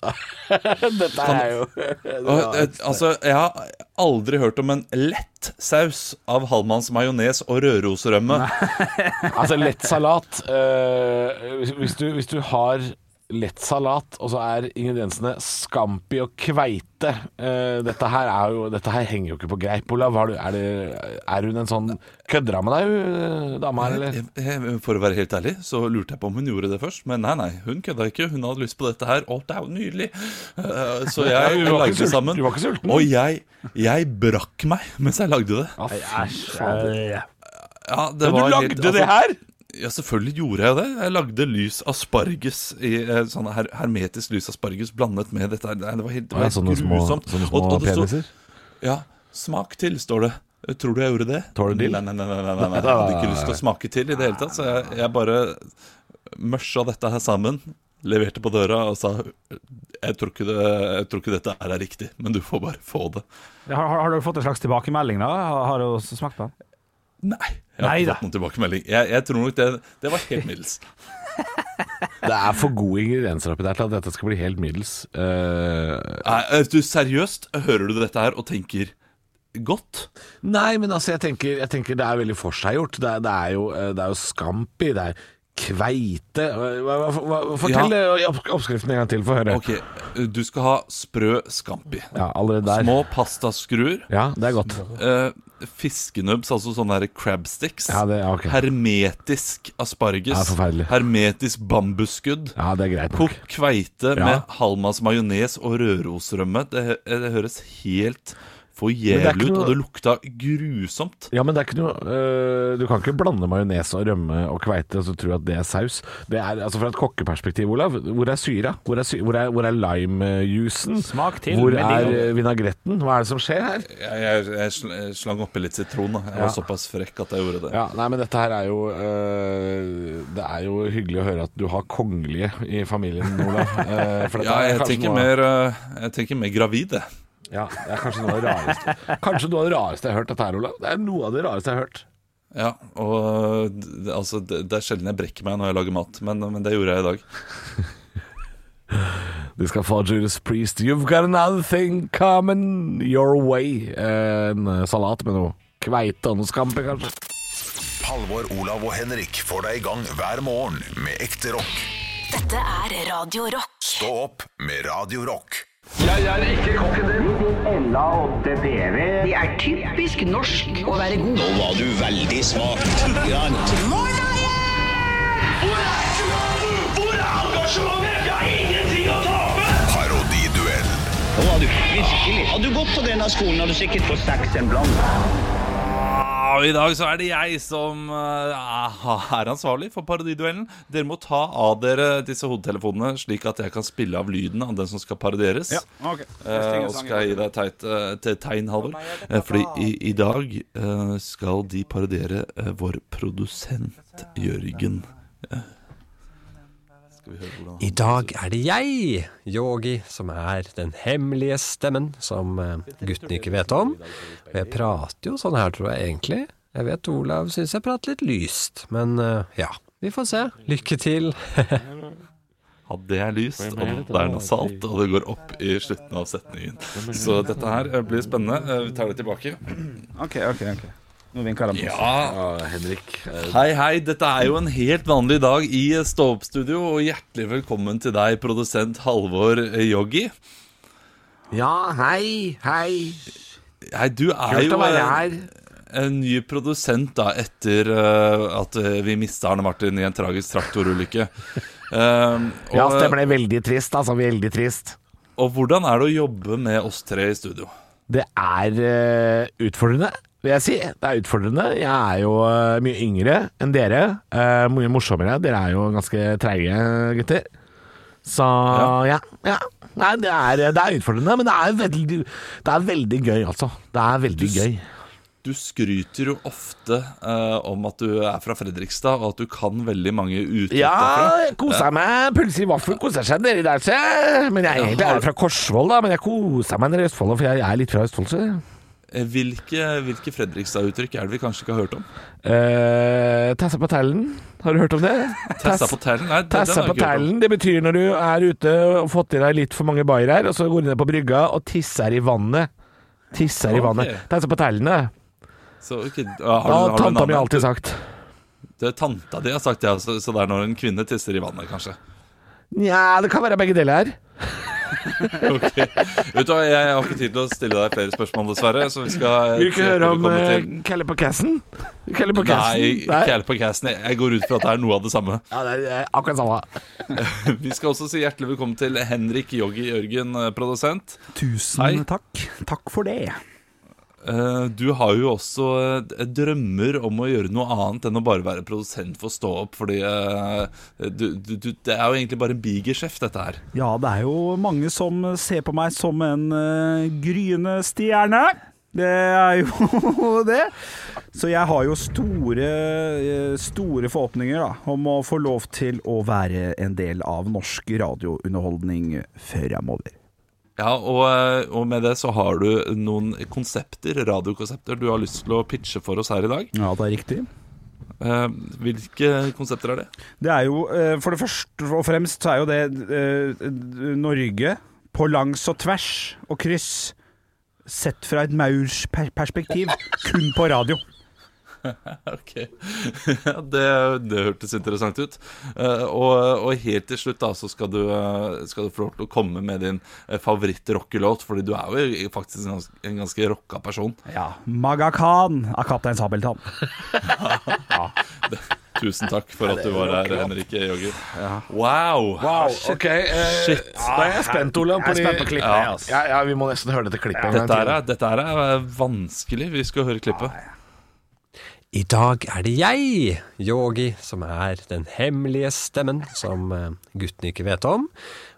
Speaker 5: Dette er jo
Speaker 4: Og, eh, altså, jeg har aldri hørt om en lett saus av halvmanns majones og rødrosrømme.
Speaker 5: Altså, lett salat eh, hvis, hvis, du, hvis du har lett salat, og så er ingrediensene scampi og kveite eh, Dette her er jo Dette her henger jo ikke på greip, Olav. Har du, er, det, er hun en sånn Kødder hun med deg, hun dama her, eller?
Speaker 4: Jeg- jeg- For å være helt ærlig, så lurte jeg på om hun gjorde det først. Men nei, nei, hun kødda ikke. Hun hadde lyst på dette her. Å, det er jo nydelig! Eh, Så jeg
Speaker 5: Du var ikke
Speaker 4: lagde det
Speaker 5: sulten.
Speaker 4: sammen.
Speaker 5: Du var ikke sulten.
Speaker 4: Og jeg, jeg brakk meg mens jeg lagde det.
Speaker 5: Ja,
Speaker 4: Ja, det
Speaker 5: Men
Speaker 4: var
Speaker 5: du lagde
Speaker 4: helt-
Speaker 5: det
Speaker 4: altså-
Speaker 5: her?!
Speaker 4: Ja, selvfølgelig gjorde jeg det. Jeg lagde lys asparges i eh, sånn her, hermetisk lys asparges blandet med dette. her. Nei, Det var helt det var helt grusomt. Og- og det sto- Ja, smak til, står det. Tror du jeg gjorde det?
Speaker 5: Tåler dill?
Speaker 4: Nei, nei, nei, nei, nei, nei, nei. Jeg hadde ikke lyst til å smake til i det hele tatt, så jeg, jeg bare mørsa dette her sammen. Leverte på døra og sa jeg tror, ikke det, 'Jeg tror ikke dette her er riktig, men du får bare få det'.
Speaker 3: Har, har, har du fått en slags tilbakemelding, da? Har, har du smakt på den?
Speaker 4: Nei. Jeg har
Speaker 3: Neida.
Speaker 4: ikke fått noen tilbakemelding. Jeg, jeg tror nok det, det var helt middels.
Speaker 5: Det er for gode ingredienser oppi der til at dette skal bli helt middels. Eh,
Speaker 4: Nei, eh, du, seriøst, hører du dette her og tenker godt?
Speaker 5: nei, men altså, jeg tenker, jeg tenker det er veldig forseggjort. Det, er- det, er jo, eh, det er jo scampi, det er kveite hva, hva, hva, Fortell eh, opp- oppskriften en gang til, få høre.
Speaker 4: Ok, eh, du skal ha sprø scampi.
Speaker 5: Ja, allerede der.
Speaker 4: Små pastaskruer.
Speaker 5: Ja, det er godt.
Speaker 4: Eh, fiskenubs, altså sånne her crab sticks.
Speaker 5: Ja, det- ja, ok.
Speaker 4: Hermetisk asparges.
Speaker 5: Ja, forferdelig.
Speaker 4: hermetisk bambusskudd.
Speaker 5: Ja, det er greit nok.
Speaker 4: Kokt kveite
Speaker 5: Ja.
Speaker 4: med Halmas majones og rørosrømme. Det, eh, det høres helt for
Speaker 5: det er
Speaker 4: jævlig ut,
Speaker 5: ikke noe-
Speaker 4: og det lukta grusomt.
Speaker 5: Ja, men det er ikke noe øh, Du kan ikke blande majones og rømme og kveite og så tro at det er saus. Det er, altså Fra et kokkeperspektiv, Olav, hvor er syra? Hvor er, sy hvor er, hvor er limejuicen?
Speaker 3: Smak til
Speaker 5: Hvor
Speaker 3: med
Speaker 5: er
Speaker 3: dill.
Speaker 5: øh, vinagretten? Hva er det som skjer her?
Speaker 4: Jeg, jeg, jeg sl- jeg slang oppi litt sitron. da. Jeg var såpass frekk at jeg gjorde det.
Speaker 5: Ja, nei, men dette her er jo øh, Det er jo hyggelig å høre at du har kongelige i familien, Olav. Eh, for dette
Speaker 4: Ja,
Speaker 5: er
Speaker 4: jeg
Speaker 5: kanskje
Speaker 4: tenker
Speaker 5: noe-
Speaker 4: mer, eh, jeg tenker mer gravid, jeg.
Speaker 5: Ja, det er kanskje noe av det rareste Kanskje noe av det rareste jeg har hørt dette her, Olav. Det er noe av det rareste jeg har hørt.
Speaker 4: Ja, og d- altså, det, det er sjelden jeg brekker meg når jeg lager mat, men, men det gjorde jeg i dag.
Speaker 5: Du skal få Judas Priest. You've got another thing coming your way. Eh, En salat med noe kveite og noe skampe, kanskje.
Speaker 1: Halvor, Olav og Henrik får deg i gang hver morgen med ekte rock.
Speaker 2: Dette er Radio Rock.
Speaker 1: Stå opp med Radio Rock.
Speaker 9: Det er typisk norsk å være god. Nå var du veldig smak.
Speaker 10: Hvor er engasjementet? Jeg har ingenting å tape!
Speaker 1: Parodiduell.
Speaker 9: Nå var du virkelig. Hadde du gått på denne skolen, hadde du sikkert fått seks en blant.
Speaker 4: Ja, og Ah, I dag så er det jeg som eh, er ansvarlig for parodiduellen. Dere må ta av dere disse hodetelefonene, slik at jeg kan spille av lyden av den som skal parodieres.
Speaker 3: ok.
Speaker 4: Eh, og skal jeg gi deg teit, eh, te- tegn, Halvor. Eh, fordi i, i dag eh, skal de parodiere eh, vår produsent Jørgen. Eh, Skal vi høre hvordan han
Speaker 11: I dag er det jeg, Yogi, som er den hemmelige stemmen som eh, guttene ikke vet om. Og jeg prater jo sånn her, tror jeg egentlig. Jeg vet Olav syns jeg prater litt lyst, men eh, ja. Vi får se. Lykke til.
Speaker 4: Ja, det er lyst, og det er noe salt, og det går opp i slutten av setningen. Så dette her eh, blir spennende. Eh, Vi tar det tilbake.
Speaker 3: Ok, ok, ok. Nå vinker de på oss.
Speaker 4: Ja,
Speaker 5: Ja, Henrik. eh,
Speaker 4: Hei, hei. Dette er jo en helt vanlig dag i Stå opp-studio, og hjertelig velkommen til deg, produsent Halvor eh, Joggi.
Speaker 5: Ja, hei, hei.
Speaker 4: Hei, du er
Speaker 5: Kult å
Speaker 4: jo
Speaker 5: være
Speaker 4: eh,
Speaker 5: her.
Speaker 4: en ny produsent da etter eh, at eh, vi mista Arne Martin i en tragisk traktorulykke. Um, og,
Speaker 5: Ja, det ble veldig trist, altså. Veldig trist.
Speaker 4: og hvordan er det å jobbe med oss tre i studio?
Speaker 5: Det er eh, utfordrende, vil jeg si. Det er utfordrende. Jeg er jo eh, mye yngre enn dere. eh, mye morsommere. Dere er jo ganske treige gutter. Så ja. ja. Nei, det er, det er utfordrende, men det er veldig, det er veldig gøy, altså. Det er veldig
Speaker 4: s-
Speaker 5: gøy.
Speaker 4: Du skryter jo ofte eh, om at du er fra Fredrikstad, og at du kan veldig mange uttrykk
Speaker 5: Ja,
Speaker 4: derfra.
Speaker 5: jeg koser meg. Pølse i vaffel koser seg nedi der, se. Men jeg er egentlig er jo fra Korsvoll, da. Men jeg koser meg nede i Østfold, for jeg er litt fra Østfold, så.
Speaker 4: Eh, Hvilke, hvilke Fredrikstad-uttrykk er det vi kanskje ikke har hørt om?
Speaker 5: Eh, Tassa på tellen, har du hørt om det?
Speaker 4: Tessa på tellen? Nei, det, den
Speaker 5: Tassa
Speaker 4: har jeg ikke
Speaker 5: på
Speaker 4: hørt om.
Speaker 5: tellen, det betyr når du er ute og fått i deg litt for mange bayer her, og så går du ned på brygga og tisser i vannet. Tisser
Speaker 4: Ah,
Speaker 5: i
Speaker 4: Ok.
Speaker 5: vannet. Tassa på tellene.
Speaker 4: Så, ok, har,
Speaker 5: Da
Speaker 4: har
Speaker 5: har tanta mi
Speaker 4: navnet?
Speaker 5: alltid sagt.
Speaker 4: Det er tanta di har sagt det, ja, så, så det er når en kvinne tisser i vannet, kanskje.
Speaker 5: Nja, det kan være begge deler her.
Speaker 4: Ok. Vet du hva, Jeg har ikke tid til å stille deg flere spørsmål, dessverre. Så vi skal
Speaker 5: Vil du ikke høre om
Speaker 4: komme
Speaker 5: eh,
Speaker 4: til-
Speaker 5: Kalle på cassen? Kalle på
Speaker 4: Nei,
Speaker 5: cassen?
Speaker 4: ikke heller på casten. Jeg går ut fra at det er noe av det samme.
Speaker 5: Ja, det er eh, akkurat samme.
Speaker 4: Vi skal også si hjertelig velkommen til Henrik Joggi Jørgen, eh, produsent.
Speaker 3: Tusen
Speaker 4: Hei.
Speaker 3: takk. Takk for det.
Speaker 4: Eh, Du har jo også eh, drømmer om å gjøre noe annet enn å bare være produsent for Stå opp, fordi eh, du, du, du, det er jo egentlig bare en bigeskjeft, dette her.
Speaker 3: Ja, det er jo mange som ser på meg som en eh, gryende stjerne. Det er jo det. Så jeg har jo store, eh, store forhåpninger da, om å få lov til å være en del av norsk radiounderholdning fremover.
Speaker 4: Ja, og, eh, og med det så har du noen konsepter, radiokonsepter du har lyst til å pitche for oss her i dag.
Speaker 3: Ja, det er riktig.
Speaker 4: Eh, Hvilke konsepter er det?
Speaker 3: Det er jo, eh, for det første og fremst, så er jo det eh, Norge på langs og tvers og kryss, sett fra et maursperspektiv, kun på radio.
Speaker 4: ok. Ja, det, det hørtes interessant ut. Eh, og, og helt til slutt da, så skal du, eh, skal du få lov til å komme med din eh, favorittrockelåt, fordi du er jo faktisk en ganske, en ganske rocka person.
Speaker 3: Ja. Maga Khan av Kaptein Sabeltann.
Speaker 4: Tusen takk for at du var her, Henrik E. Jogger.
Speaker 5: Wow,
Speaker 4: Wow!
Speaker 5: ok eh,
Speaker 4: Shit.
Speaker 5: Ja, jeg er spent, Olav.
Speaker 3: Jeg er spent på klippet,
Speaker 5: ja.
Speaker 3: jeg, altså.
Speaker 5: Ja, ja, vi må nesten høre dette klippet. en gang
Speaker 4: Dette her
Speaker 5: til.
Speaker 4: er, dette her er vanskelig. Vi skal høre klippet.
Speaker 11: I dag er det jeg, Yogi, som er den hemmelige stemmen som eh, guttene ikke vet om.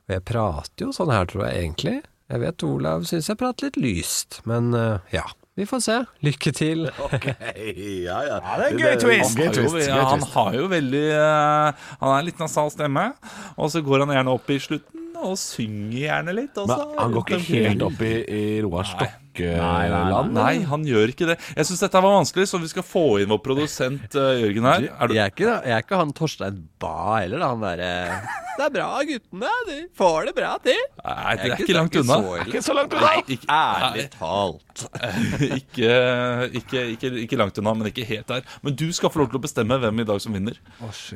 Speaker 11: Og jeg prater jo sånn her, tror jeg egentlig. Jeg vet Olav syns jeg prater litt lyst, men eh, ja. Vi får se. Lykke til.
Speaker 5: ja, ja.
Speaker 3: Ja, det er en gøy twist.
Speaker 5: Gøy
Speaker 4: Han har
Speaker 5: twist,
Speaker 4: jo,
Speaker 5: gøy
Speaker 4: ja, han
Speaker 5: twist.
Speaker 4: har jo veldig eh, Han er en litt nasal stemme, og så går han gjerne opp i slutten og synger gjerne litt. og
Speaker 5: Men
Speaker 4: så-
Speaker 5: han går ikke helt opp i, i Roar Stokke-land?
Speaker 4: Nei, han gjør ikke det. Jeg syns dette var vanskelig, så vi skal få inn vår produsent eh, Jørgen her. Er du
Speaker 12: Jeg er, ikke, jeg er ikke han Torstein Ba heller, da. Han derre Det er bra, guttene. De får det bra til.
Speaker 4: Nei, det
Speaker 12: Jeg
Speaker 4: er ikke langt unna.
Speaker 12: så ille.
Speaker 5: Ikke så langt unna!
Speaker 4: Ikke,
Speaker 12: Ærlig talt.
Speaker 4: ikke, ikke, ikke, ikke langt unna, men ikke helt der. Men du skal få lov til å bestemme hvem i dag som vinner.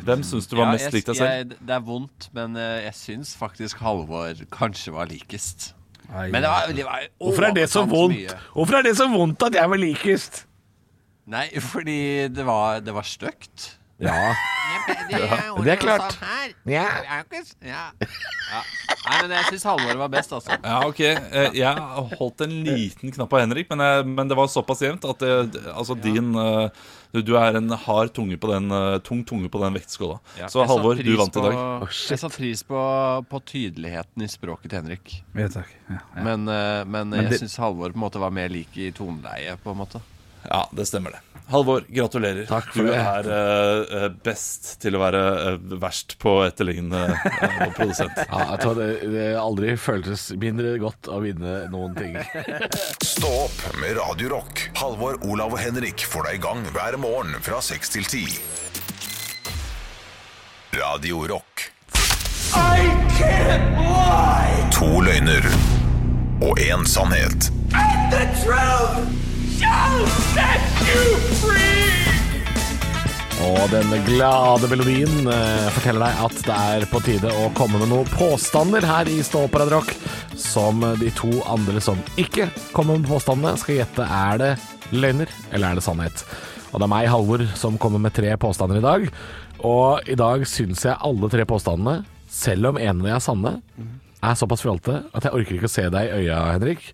Speaker 4: Hvem syns du var
Speaker 12: Ja,
Speaker 4: mest
Speaker 12: jeg,
Speaker 4: lik deg selv?
Speaker 12: jeg, Eh, det er vondt, men eh, jeg syns faktisk Halvor kanskje var likest. Men det var, det var
Speaker 5: Hvorfor er det så
Speaker 12: overkant
Speaker 5: vondt?
Speaker 12: mye.
Speaker 5: Hvorfor er det så vondt at jeg var likest?
Speaker 12: Nei, fordi det var, det var støkt.
Speaker 5: Ja, det er klart. Ja.
Speaker 12: Nei, men jeg syns Halvor var best, altså.
Speaker 4: Ja, ok. Eh, Jeg holdt en liten knapp av Henrik, men, jeg, men det var såpass jevnt at det, altså din eh, du, du er en hard tunge på den, eh, tung tunge på den vektskåla. Så
Speaker 12: Jeg satte
Speaker 4: Halvor, du
Speaker 12: pris
Speaker 4: vant i dag.
Speaker 12: på- jeg satte pris på, på tydeligheten i språket til Henrik.
Speaker 3: Ja, takk. Ja, ja.
Speaker 12: Men, eh, men,
Speaker 3: det-
Speaker 12: jeg syns Halvor på en måte var mer lik i toneleie, på en måte.
Speaker 4: Ja, det stemmer det. Halvor, gratulerer.
Speaker 5: Takk for
Speaker 4: du
Speaker 5: det.
Speaker 4: er eh, eh, best til å være eh, verst på etterlignende eh, produsent.
Speaker 5: Ja, jeg tror det, det aldri føltes mindre godt å vinne noen ting.
Speaker 1: Stå opp med Radio Rock. Halvor, Olav og Henrik får deg i gang hver morgen fra 6 til 10. Radio Rock. To løgner og én sannhet.
Speaker 5: Og denne glade melodien eh, forteller deg at det er på tide å komme med noen påstander her i Stå opp Radio Rock, som de to andre som ikke kommer med påstandene, skal gjette er det løgner eller er det sannhet. Og det er meg, Halvor, som kommer med tre påstander i dag. Og i dag syns jeg alle tre påstandene, selv om en av de er sanne, er såpass fjolte at jeg orker ikke å se deg i øya, Henrik.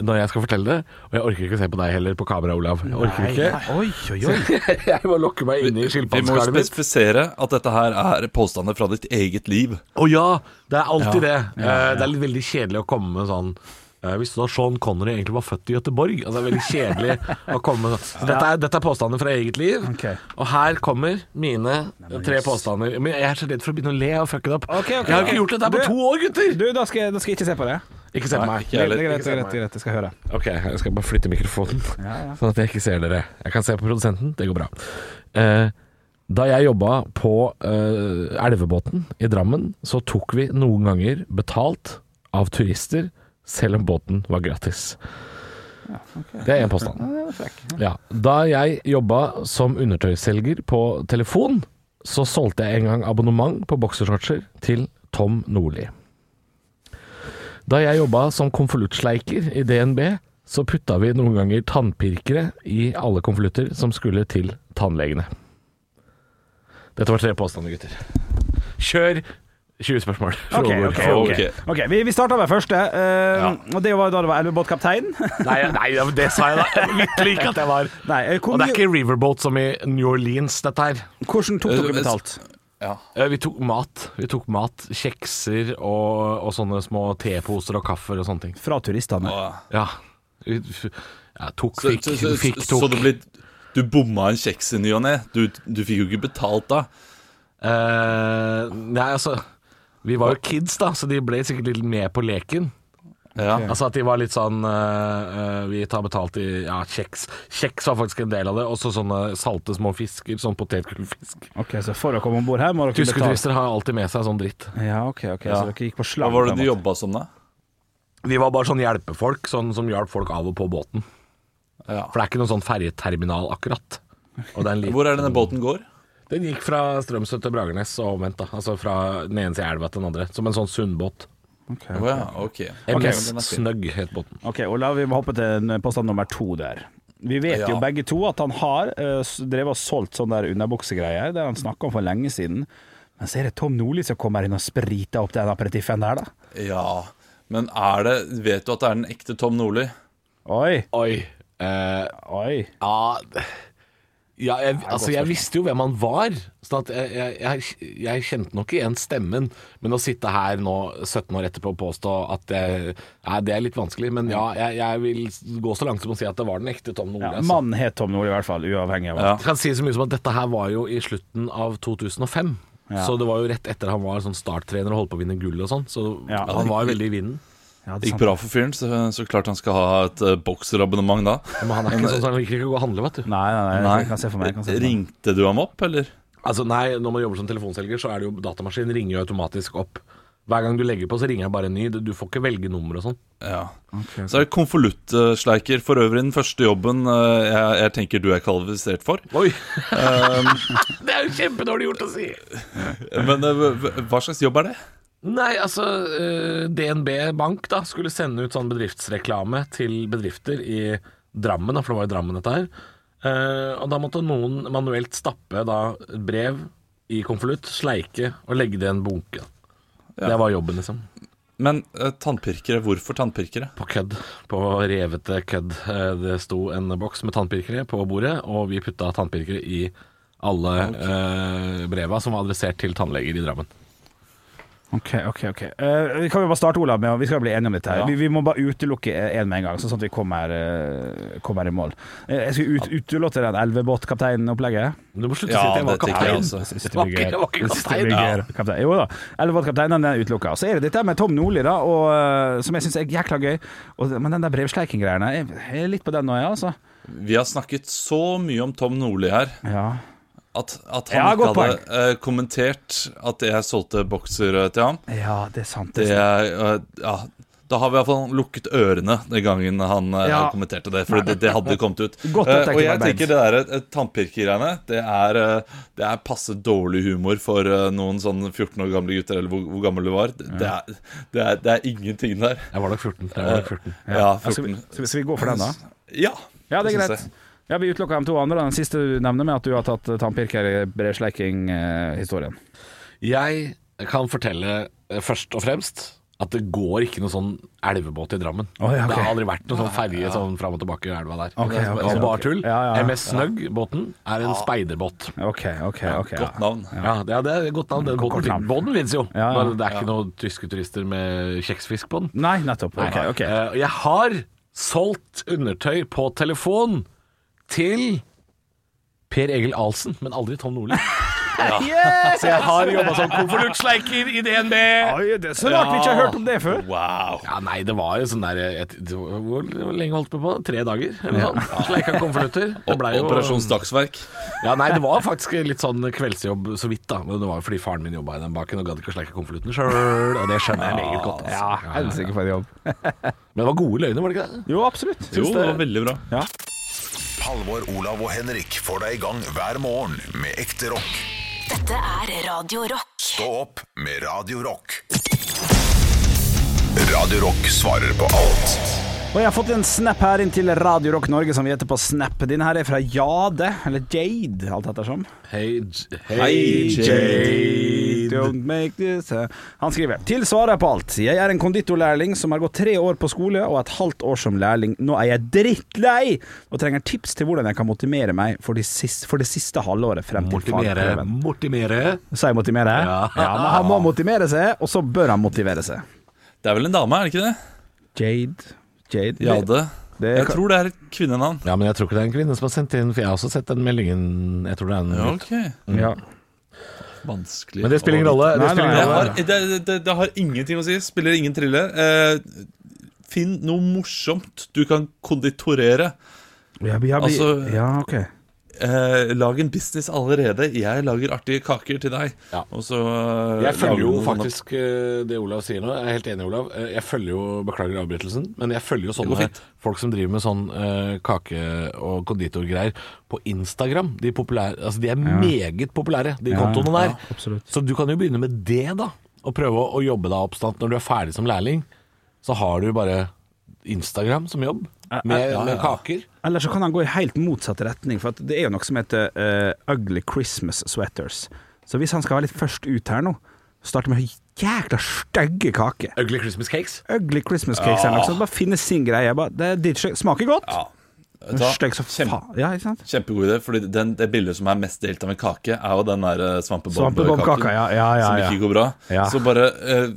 Speaker 5: Når jeg skal fortelle det, og jeg orker ikke å se på deg heller på kamera, Olav. Jeg orker ikke.
Speaker 3: Oi, oi, oi.
Speaker 5: Jeg må lokke meg inn i
Speaker 4: Vi må jo
Speaker 5: skilpaddeskaret mitt.
Speaker 4: spesifisere at dette her er påstander fra ditt eget liv.
Speaker 5: Å ja, det er alltid det. Eh, Det er litt veldig kjedelig å komme med sånn eh, Visste du at Sean Connery egentlig var født i Gøteborg? Altså, det er veldig kjedelig å komme med sånn. Så dette er, dette er påstander fra eget liv.
Speaker 3: Ok.
Speaker 5: Og her kommer mine tre påstander. Men jeg er så redd for å begynne å le og fucke det opp.
Speaker 3: Ok, ok,
Speaker 5: jeg har
Speaker 3: ok.
Speaker 5: ikke gjort dette her på
Speaker 3: Du-
Speaker 5: to år, gutter!
Speaker 3: Du, da skal, jeg, da skal jeg ikke se på det.
Speaker 5: Ikke se på meg.
Speaker 4: ikke
Speaker 3: Det er
Speaker 4: heller.
Speaker 3: greit,
Speaker 5: ikke
Speaker 3: det
Speaker 5: se
Speaker 3: er greit,
Speaker 5: på
Speaker 3: det er greit, jeg skal høre.
Speaker 5: Ok, jeg skal bare flytte mikrofonen Sånn at jeg ikke ser dere Jeg kan se på produsenten, det går bra Eh, Da jeg jobba på eh, elvebåten i Drammen Så tok vi noen ganger betalt av turister Selv om båten var gratis Det er en påstand ja. Da jeg jobba som undertøyselger på telefon Så solgte jeg en gang abonnement på boksershortser til Tom Nordli da jeg jobba som konvoluttsleiker i DNB, så putta vi noen ganger tannpirkere i alle konvolutter som skulle til tannlegene. Dette var tre påstander, gutter. Kjør 20 spørsmål.
Speaker 3: Ok,
Speaker 5: Frode.
Speaker 3: ok,
Speaker 4: Ok.
Speaker 3: ok. Ok, Vi, vi starta med første. eh, Og Det var da det var elvebåtkaptein.
Speaker 5: Nei, nei, det sa jeg da. Virkelig ikke at jeg var.
Speaker 3: Nei, eh, hvor
Speaker 5: Og det er
Speaker 3: mye-
Speaker 5: ikke riverboat som i New Orleans, dette her.
Speaker 3: Hvordan tok dere betalt?
Speaker 5: Eh, Vi tok mat. Vi tok mat, kjekser og, og sånne små teposer og kaffer og sånne ting.
Speaker 3: Fra turistene.
Speaker 5: Ja. Vi- ja tok,
Speaker 4: Så,
Speaker 5: fikk,
Speaker 4: så, så,
Speaker 5: fikk,
Speaker 4: så
Speaker 5: tok.
Speaker 4: det blir Du bomma en kjeks i ny og ne. Du, du fikk jo ikke betalt da.
Speaker 5: Eh, nei, altså Vi var jo kids, da, så de ble sikkert litt med på leken.
Speaker 4: Ja.
Speaker 5: Altså at de var litt sånn eh, eh, Vi tar betalt i ja, kjeks. Kjeks var faktisk en del av det. Også sånne salte små fisker. Sånn potetgullfisk.
Speaker 3: Ok, Så for å komme om bord her, må dere
Speaker 5: Tyske
Speaker 3: betale.
Speaker 5: turister har alltid med seg sånn dritt.
Speaker 3: Ja, ok, ok,
Speaker 5: Ja.
Speaker 3: Så dere gikk på
Speaker 4: Hva
Speaker 3: slang?
Speaker 4: var det
Speaker 3: på en
Speaker 4: du
Speaker 3: måte.
Speaker 4: jobba som, da?
Speaker 5: Vi var bare sånn hjelpefolk, sånn som hjalp folk av og på båten.
Speaker 4: Ja.
Speaker 5: For det er ikke noen sånn ferjeterminal, akkurat.
Speaker 4: Hvor er det denne båten går?
Speaker 5: Den gikk fra Strømsø til Bragernes og omvendt. da Altså fra den ene siden av elva til den andre. Som en sånn sundbåt.
Speaker 3: ok, ok. Å ja, ok. Ok, men
Speaker 5: MS
Speaker 3: den er fin.
Speaker 5: Snøgg het båten.
Speaker 3: Ok, Olav, vi må hoppe til en eh, påstand nummer to der. Vi vet jo
Speaker 5: Ja.
Speaker 3: begge to at han har eh, s- drevet og solgt sånne der underbuksegreier, det har han snakka om for lenge siden. Men så er det Tom Nordli som kommer inn og spriter opp den aperitiffen der, da.
Speaker 4: Ja, men er det Vet du at det er den ekte Tom Nordli?
Speaker 3: Oi.
Speaker 5: Oi. eh, Ja, ja jeg, altså, jeg visste jo hvem han var. Så at jeg, jeg, jeg, jeg kjente nok igjen stemmen. Men å sitte her nå, 17 år etterpå, og påstå at jeg, nei, det er litt vanskelig. Men ja, jeg, jeg vil gå så langt som å si at det var den ekte Tom Nordli.
Speaker 3: Ja,
Speaker 5: altså.
Speaker 3: Mannen het Tom Nordli i hvert fall, uavhengig av
Speaker 5: Jeg kan si så mye som at dette her var jo i slutten av 2005.
Speaker 3: Ja.
Speaker 5: Så det var jo rett etter han var sånn starttrener og holdt på å vinne gull og sånn. Så han var jo veldig i vinden.
Speaker 4: det gikk bra for fyren, så, så klart han skal ha et eh, bokserabonnement da.
Speaker 5: Men han er ikke sånn som han liker ikke å gå og handle, vet du.
Speaker 3: Nei, nei, nei, jeg kan se for meg, jeg kan se for meg.
Speaker 4: Ringte du ham opp, eller?
Speaker 5: Altså nei, Når man jobber som telefonselger, så er det jo datamaskinen ringer jo automatisk opp. Hver gang du legger på, så ringer jeg bare en ny. Du får ikke velge nummer og sånn.
Speaker 4: Ja. Så er det konvoluttsleiker. For øvrig den første jobben eh, jeg, jeg tenker du er kvalifisert for.
Speaker 5: Oi!
Speaker 4: Um,
Speaker 5: det er jo kjempedårlig gjort å si!
Speaker 4: men eh, hva- hva slags jobb er det?
Speaker 5: Nei, altså eh, DNB Bank da skulle sende ut sånn bedriftsreklame til bedrifter i Drammen, da, for det var i Drammen dette her. Eh, og da måtte noen manuelt stappe da brev i konvolutt, sleike og legge det i en bunke. Det var jobben, liksom.
Speaker 4: Men eh, tannpirkere, hvorfor tannpirkere?
Speaker 5: På kødd. På revete kødd. Eh, Det sto en boks med tannpirkere på bordet, og vi putta tannpirkere i alle eh, breva som var adressert til tannleger i Drammen.
Speaker 3: Ok, ok, ok. Eh, vi kan jo bare starte, Olav, med Vi skal bli enige om dette. her
Speaker 5: Ja.
Speaker 3: vi, vi må bare utelukke én med en gang, sånn at vi kommer, eh, kommer i mål. Eh, jeg skulle ut, utelukke den elvebåtkapteinen-opplegget.
Speaker 5: Du må
Speaker 4: slutte å si at jeg var kaptein. Jeg synes det blir gøy. Jeg synes det blir gøy.
Speaker 3: kaptein. Jo da, elvebåtkapteinen er utelukka. Så er det dette med Tom Nordli, da, og, eh, som jeg syns er jækla gøy. Og, men den der brevsleiking-greiene, jeg, jeg er litt på den nå, jeg, altså.
Speaker 4: Vi har snakket så mye om Tom Nordli her
Speaker 3: Ja.
Speaker 4: at, at
Speaker 3: Ja,
Speaker 4: han ikke
Speaker 3: godt
Speaker 4: hadde eh, kommentert at jeg solgte bokser eh, til ham.
Speaker 3: ja, det er sant.
Speaker 4: Det,
Speaker 3: Det er sant.
Speaker 4: eh, ja, da har vi iallfall lukket ørene den gangen han eh,
Speaker 3: Ja.
Speaker 4: kommenterte det, for det, det hadde kommet ut.
Speaker 3: Godt oppdaget,
Speaker 4: Eh, og jeg
Speaker 3: Arbeid.
Speaker 4: tenker det der eh, tannpirkegreiene, det er, eh, det er passe dårlig humor for eh, noen sånn 14 år gamle gutter, eller hvor, hvor gammel du var. Det, det, er, det, er, det er ingenting der.
Speaker 5: Jeg var nok 14. Jeg var nok 14.
Speaker 4: Eh, Ja,
Speaker 3: Ja, skal, vi,
Speaker 4: 14.
Speaker 3: skal, vi, skal vi gå for den, da?
Speaker 4: Ja,
Speaker 3: Ja, det er
Speaker 4: synes
Speaker 3: greit.
Speaker 4: jeg.
Speaker 3: Ja, Vi utelukka de to andre. da. Den siste du nevner med at du har tatt eh, tannpirker i brevsleiking-historien.
Speaker 5: Jeg kan fortelle eh, først og fremst at det går ikke noe sånn elvebåt i Drammen.
Speaker 3: Å, ja, ok.
Speaker 5: Det har aldri vært noe sånn ferge sånn fram og tilbake i elva der.
Speaker 3: Ok,
Speaker 5: det er
Speaker 3: ok,
Speaker 5: bare-
Speaker 3: ok.
Speaker 5: bare tull.
Speaker 3: Ja, ja, ja.
Speaker 5: MS Snøgg-båten er en speiderbåt.
Speaker 3: Ok, ok, ok. ja.
Speaker 4: Godt navn.
Speaker 5: Ja, det er, det er et godt navn. Den båten,
Speaker 3: Godt navn.
Speaker 5: båten finnes jo.
Speaker 3: Ja, ja.
Speaker 5: Bare Det er ikke noen tyske turister med kjeksfisk på den.
Speaker 3: Nei, nettopp. Ok,
Speaker 5: Nei, nei.
Speaker 3: ok.
Speaker 5: Eh, Jeg har solgt undertøy på telefon til Per Egil Ahlsen, men aldri Tom Nordli. Så jeg har jobba som konvoluttsleiker i DNB.
Speaker 3: Oi, det er så rart vi ikke har hørt om det før.
Speaker 4: Wow.
Speaker 5: Ja, nei, det var jo sånn der et, det var- Hvor hvor lenge holdt vi på? Tre dager? Eller noe sånt. Sleika konvolutter. Det ble jo
Speaker 4: Operasjonsdagsverk.
Speaker 5: Ja, nei, det var faktisk litt sånn kveldsjobb så vidt, da. Men det var jo fordi faren min jobba i den baken og gadd ikke å sleike konvolutten sjøl. Og det skjønner jeg meget godt. Altså.
Speaker 3: Ja, helsike for en jobb.
Speaker 5: Men det var gode løgner, var det ikke det?
Speaker 3: Jo, absolutt.
Speaker 4: Jo,
Speaker 3: Syns
Speaker 4: det
Speaker 3: det-
Speaker 4: var veldig bra.
Speaker 1: Halvor, Olav og Henrik får deg i gang hver morgen med ekte rock.
Speaker 2: Dette er Radio Rock.
Speaker 1: Stå opp med Radio Rock. Radio Rock svarer på alt.
Speaker 3: Og jeg har fått en snap her inn til Radio Rock Norge, som vi heter på Snap. Din her er fra Jade, eller Jade, alt ettersom.
Speaker 5: Hei, J-
Speaker 4: Hei,
Speaker 5: Jade.
Speaker 3: Don't make this eh. Han skriver Til svaret på alt. Jeg er en konditorlærling som har gått tre år på skole og et halvt år som lærling. Nå er jeg drittlei og trenger tips til hvordan jeg kan motivere meg for, de siste, for det siste halvåret frem til
Speaker 5: Mortimere.
Speaker 3: fagprøven.
Speaker 5: Mortimere.
Speaker 3: Sier motivere?
Speaker 5: Ja.
Speaker 3: men han må motivere seg, og så bør han motivere seg.
Speaker 4: Det er vel en dame, er det ikke det?
Speaker 3: Jade Jade
Speaker 4: Jade.
Speaker 3: Det,
Speaker 4: Jeg tror det er et kvinnenavn.
Speaker 5: Ja, men jeg tror ikke det er en kvinne som har sendt inn, for jeg har også sett den meldingen. Jeg tror det er en
Speaker 4: Ja, ok
Speaker 3: ja.
Speaker 4: Vanskelig
Speaker 5: Men det spiller ingen
Speaker 4: å-
Speaker 5: rolle.
Speaker 3: Nei,
Speaker 5: Det spiller
Speaker 3: nei,
Speaker 5: ingen
Speaker 4: Det
Speaker 5: rolle.
Speaker 4: har, det, det, det har ingenting å si. Spiller ingen trille. Eh, finn noe morsomt du kan konditorere.
Speaker 3: Ja, vi har blitt-
Speaker 4: Altså-
Speaker 3: ja, ok.
Speaker 4: eh, lag en business allerede. Jeg lager artige kaker til deg. Og så eh,
Speaker 5: Jeg
Speaker 4: lager
Speaker 5: følger jo
Speaker 4: noen-
Speaker 5: faktisk eh, det Olav sier nå. Jeg er helt enig, Olav. Eh, Jeg følger jo, Beklager avbrytelsen, men jeg følger jo
Speaker 4: går
Speaker 5: sånne
Speaker 4: fint.
Speaker 5: folk som driver med sånn eh, kake- og konditorgreier på Instagram. De er, populære, altså, de er meget populære, de
Speaker 3: Ja,
Speaker 5: kontoene
Speaker 3: ja,
Speaker 5: der. så du kan jo begynne med det, da. Og prøve å jobbe deg opp sånn at når du er ferdig som lærling. Så har du bare Instagram som jobb, med,
Speaker 3: ja,
Speaker 5: med
Speaker 3: ja.
Speaker 5: kaker.
Speaker 3: Eller så kan han gå i helt motsatt retning, for at det er jo noe som heter eh, ugly Christmas sweaters. Så hvis han skal være litt først ut her nå, starte med jækla stygge kaker.
Speaker 5: Ugly Christmas cakes.
Speaker 3: Ugly Christmas cakes eller noe sånt. Bare finne sin greie. Bare, det er dritstygg. Smaker godt.
Speaker 4: Vet du
Speaker 3: Men
Speaker 4: hva?
Speaker 3: Stygg som
Speaker 4: Kjempe-
Speaker 3: faen. Ja, ikke sant?
Speaker 4: Kjempegod idé, fordi den, det bildet som er mest delt av en kake, er jo den der eh, svampebobkaken.
Speaker 3: Svampebobkaka, ja, ja, ja, ja.
Speaker 4: Som ikke går bra.
Speaker 3: Ja.
Speaker 4: Så bare eh,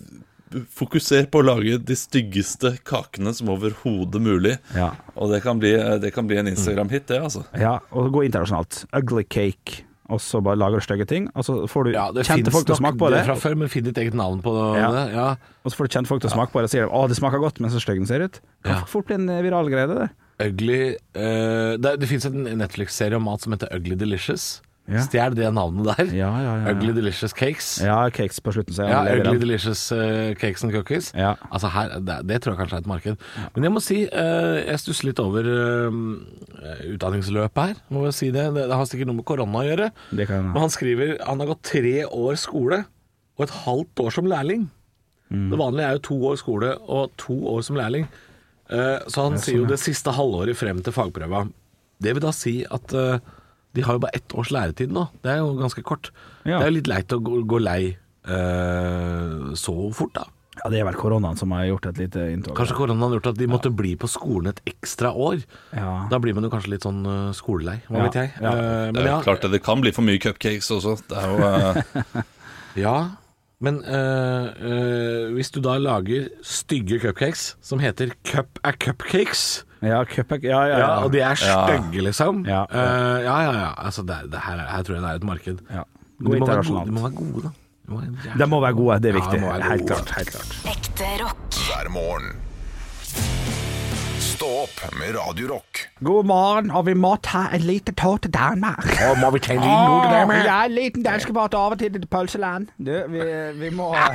Speaker 4: fokuser på å lage de styggeste kakene som overhodet mulig.
Speaker 3: Ja.
Speaker 4: Og det kan bli, eh, det kan bli en Instagram-hit, det, altså.
Speaker 3: ja, og gå internasjonalt. Ugly cake. Og så bare lager du stygge ting, og så får du
Speaker 5: Ja, det
Speaker 3: kjente
Speaker 5: finnes
Speaker 3: folk til å
Speaker 5: nok
Speaker 3: smake på det.
Speaker 5: fra før, men finn ditt eget navn på
Speaker 3: Ja.
Speaker 5: det. Ja.
Speaker 3: Og så får du kjente folk til å smake på det, og sier de 'Å, det smaker godt', men så stygg den ser ut. Kan fort bli en viral greie, det der.
Speaker 5: Ugly eh, Det, det fins en Netflix-serie om mat som heter Ugly Delicious. Stjel det navnet der. Ugly Delicious Cakes.
Speaker 3: Ja, cakes på slutten, så jeg
Speaker 5: Ja,
Speaker 3: lever
Speaker 5: Ugly
Speaker 3: den.
Speaker 5: Delicious eh, Cakes and Cookies. Altså her, det, det tror jeg kanskje er et marked. Men jeg må si, eh, jeg stusser litt over eh, utdanningsløpet her. Må jeg si det. det. Det har sikkert noe med korona å gjøre.
Speaker 3: Det kan
Speaker 5: Men han skriver han har gått tre år skole og et halvt år som lærling. Det vanlige er jo to år skole og to år som lærling. Eh, så han
Speaker 3: Det er
Speaker 5: sier jo
Speaker 3: sånn, ja.
Speaker 5: det siste halvåret frem til fagprøva. Det vil da si at eh, de har jo bare ett års læretid nå. Det er jo ganske kort.
Speaker 3: Ja.
Speaker 5: Det er jo litt leit å gå, gå lei eh, så fort, da.
Speaker 3: Ja, det er vel koronaen som har gjort et lite inntog.
Speaker 5: Kanskje koronaen har gjort at de måtte bli på skolen et ekstra år.
Speaker 3: Ja.
Speaker 5: Da blir man jo kanskje litt sånn eh, skolelei, hva
Speaker 3: Ja,
Speaker 5: vet jeg.
Speaker 3: ja.
Speaker 5: Eh,
Speaker 4: Det
Speaker 5: men
Speaker 4: er jo
Speaker 5: ja,
Speaker 4: klart det, det kan bli for mye cupcakes også. Det er jo eh,
Speaker 5: ja, men eh, eh, hvis du da lager stygge cupcakes som heter cup a cupcakes,
Speaker 3: Ja, cupcake Ja, ja, ja.
Speaker 5: Ja, og de
Speaker 3: Ja.
Speaker 5: er stygge, liksom.
Speaker 3: Ja, ja.
Speaker 5: Eh, ja, ja. ja. Altså, det, er- det her, er- her tror jeg det er et marked.
Speaker 3: Ja.
Speaker 5: Men
Speaker 3: Gå
Speaker 5: de må være
Speaker 3: internasjonalt.
Speaker 5: gode- De må være gode, da. De må være jævlig
Speaker 3: De må være gode, det er
Speaker 5: Ja,
Speaker 3: viktig.
Speaker 5: de må være
Speaker 3: helt
Speaker 5: gode.
Speaker 3: klart. Helt klart.
Speaker 2: Ekte rock.
Speaker 1: hver morgen. Stå opp med Radio Rock.
Speaker 3: God morgen, og vi må ta en liten tår til Danmark.
Speaker 5: Å, må vi ta en liten tur til
Speaker 3: Åh,
Speaker 5: Danmark?
Speaker 3: ja, en liten danskebåt over til et pølseland. Du, vi, vi må
Speaker 5: Hva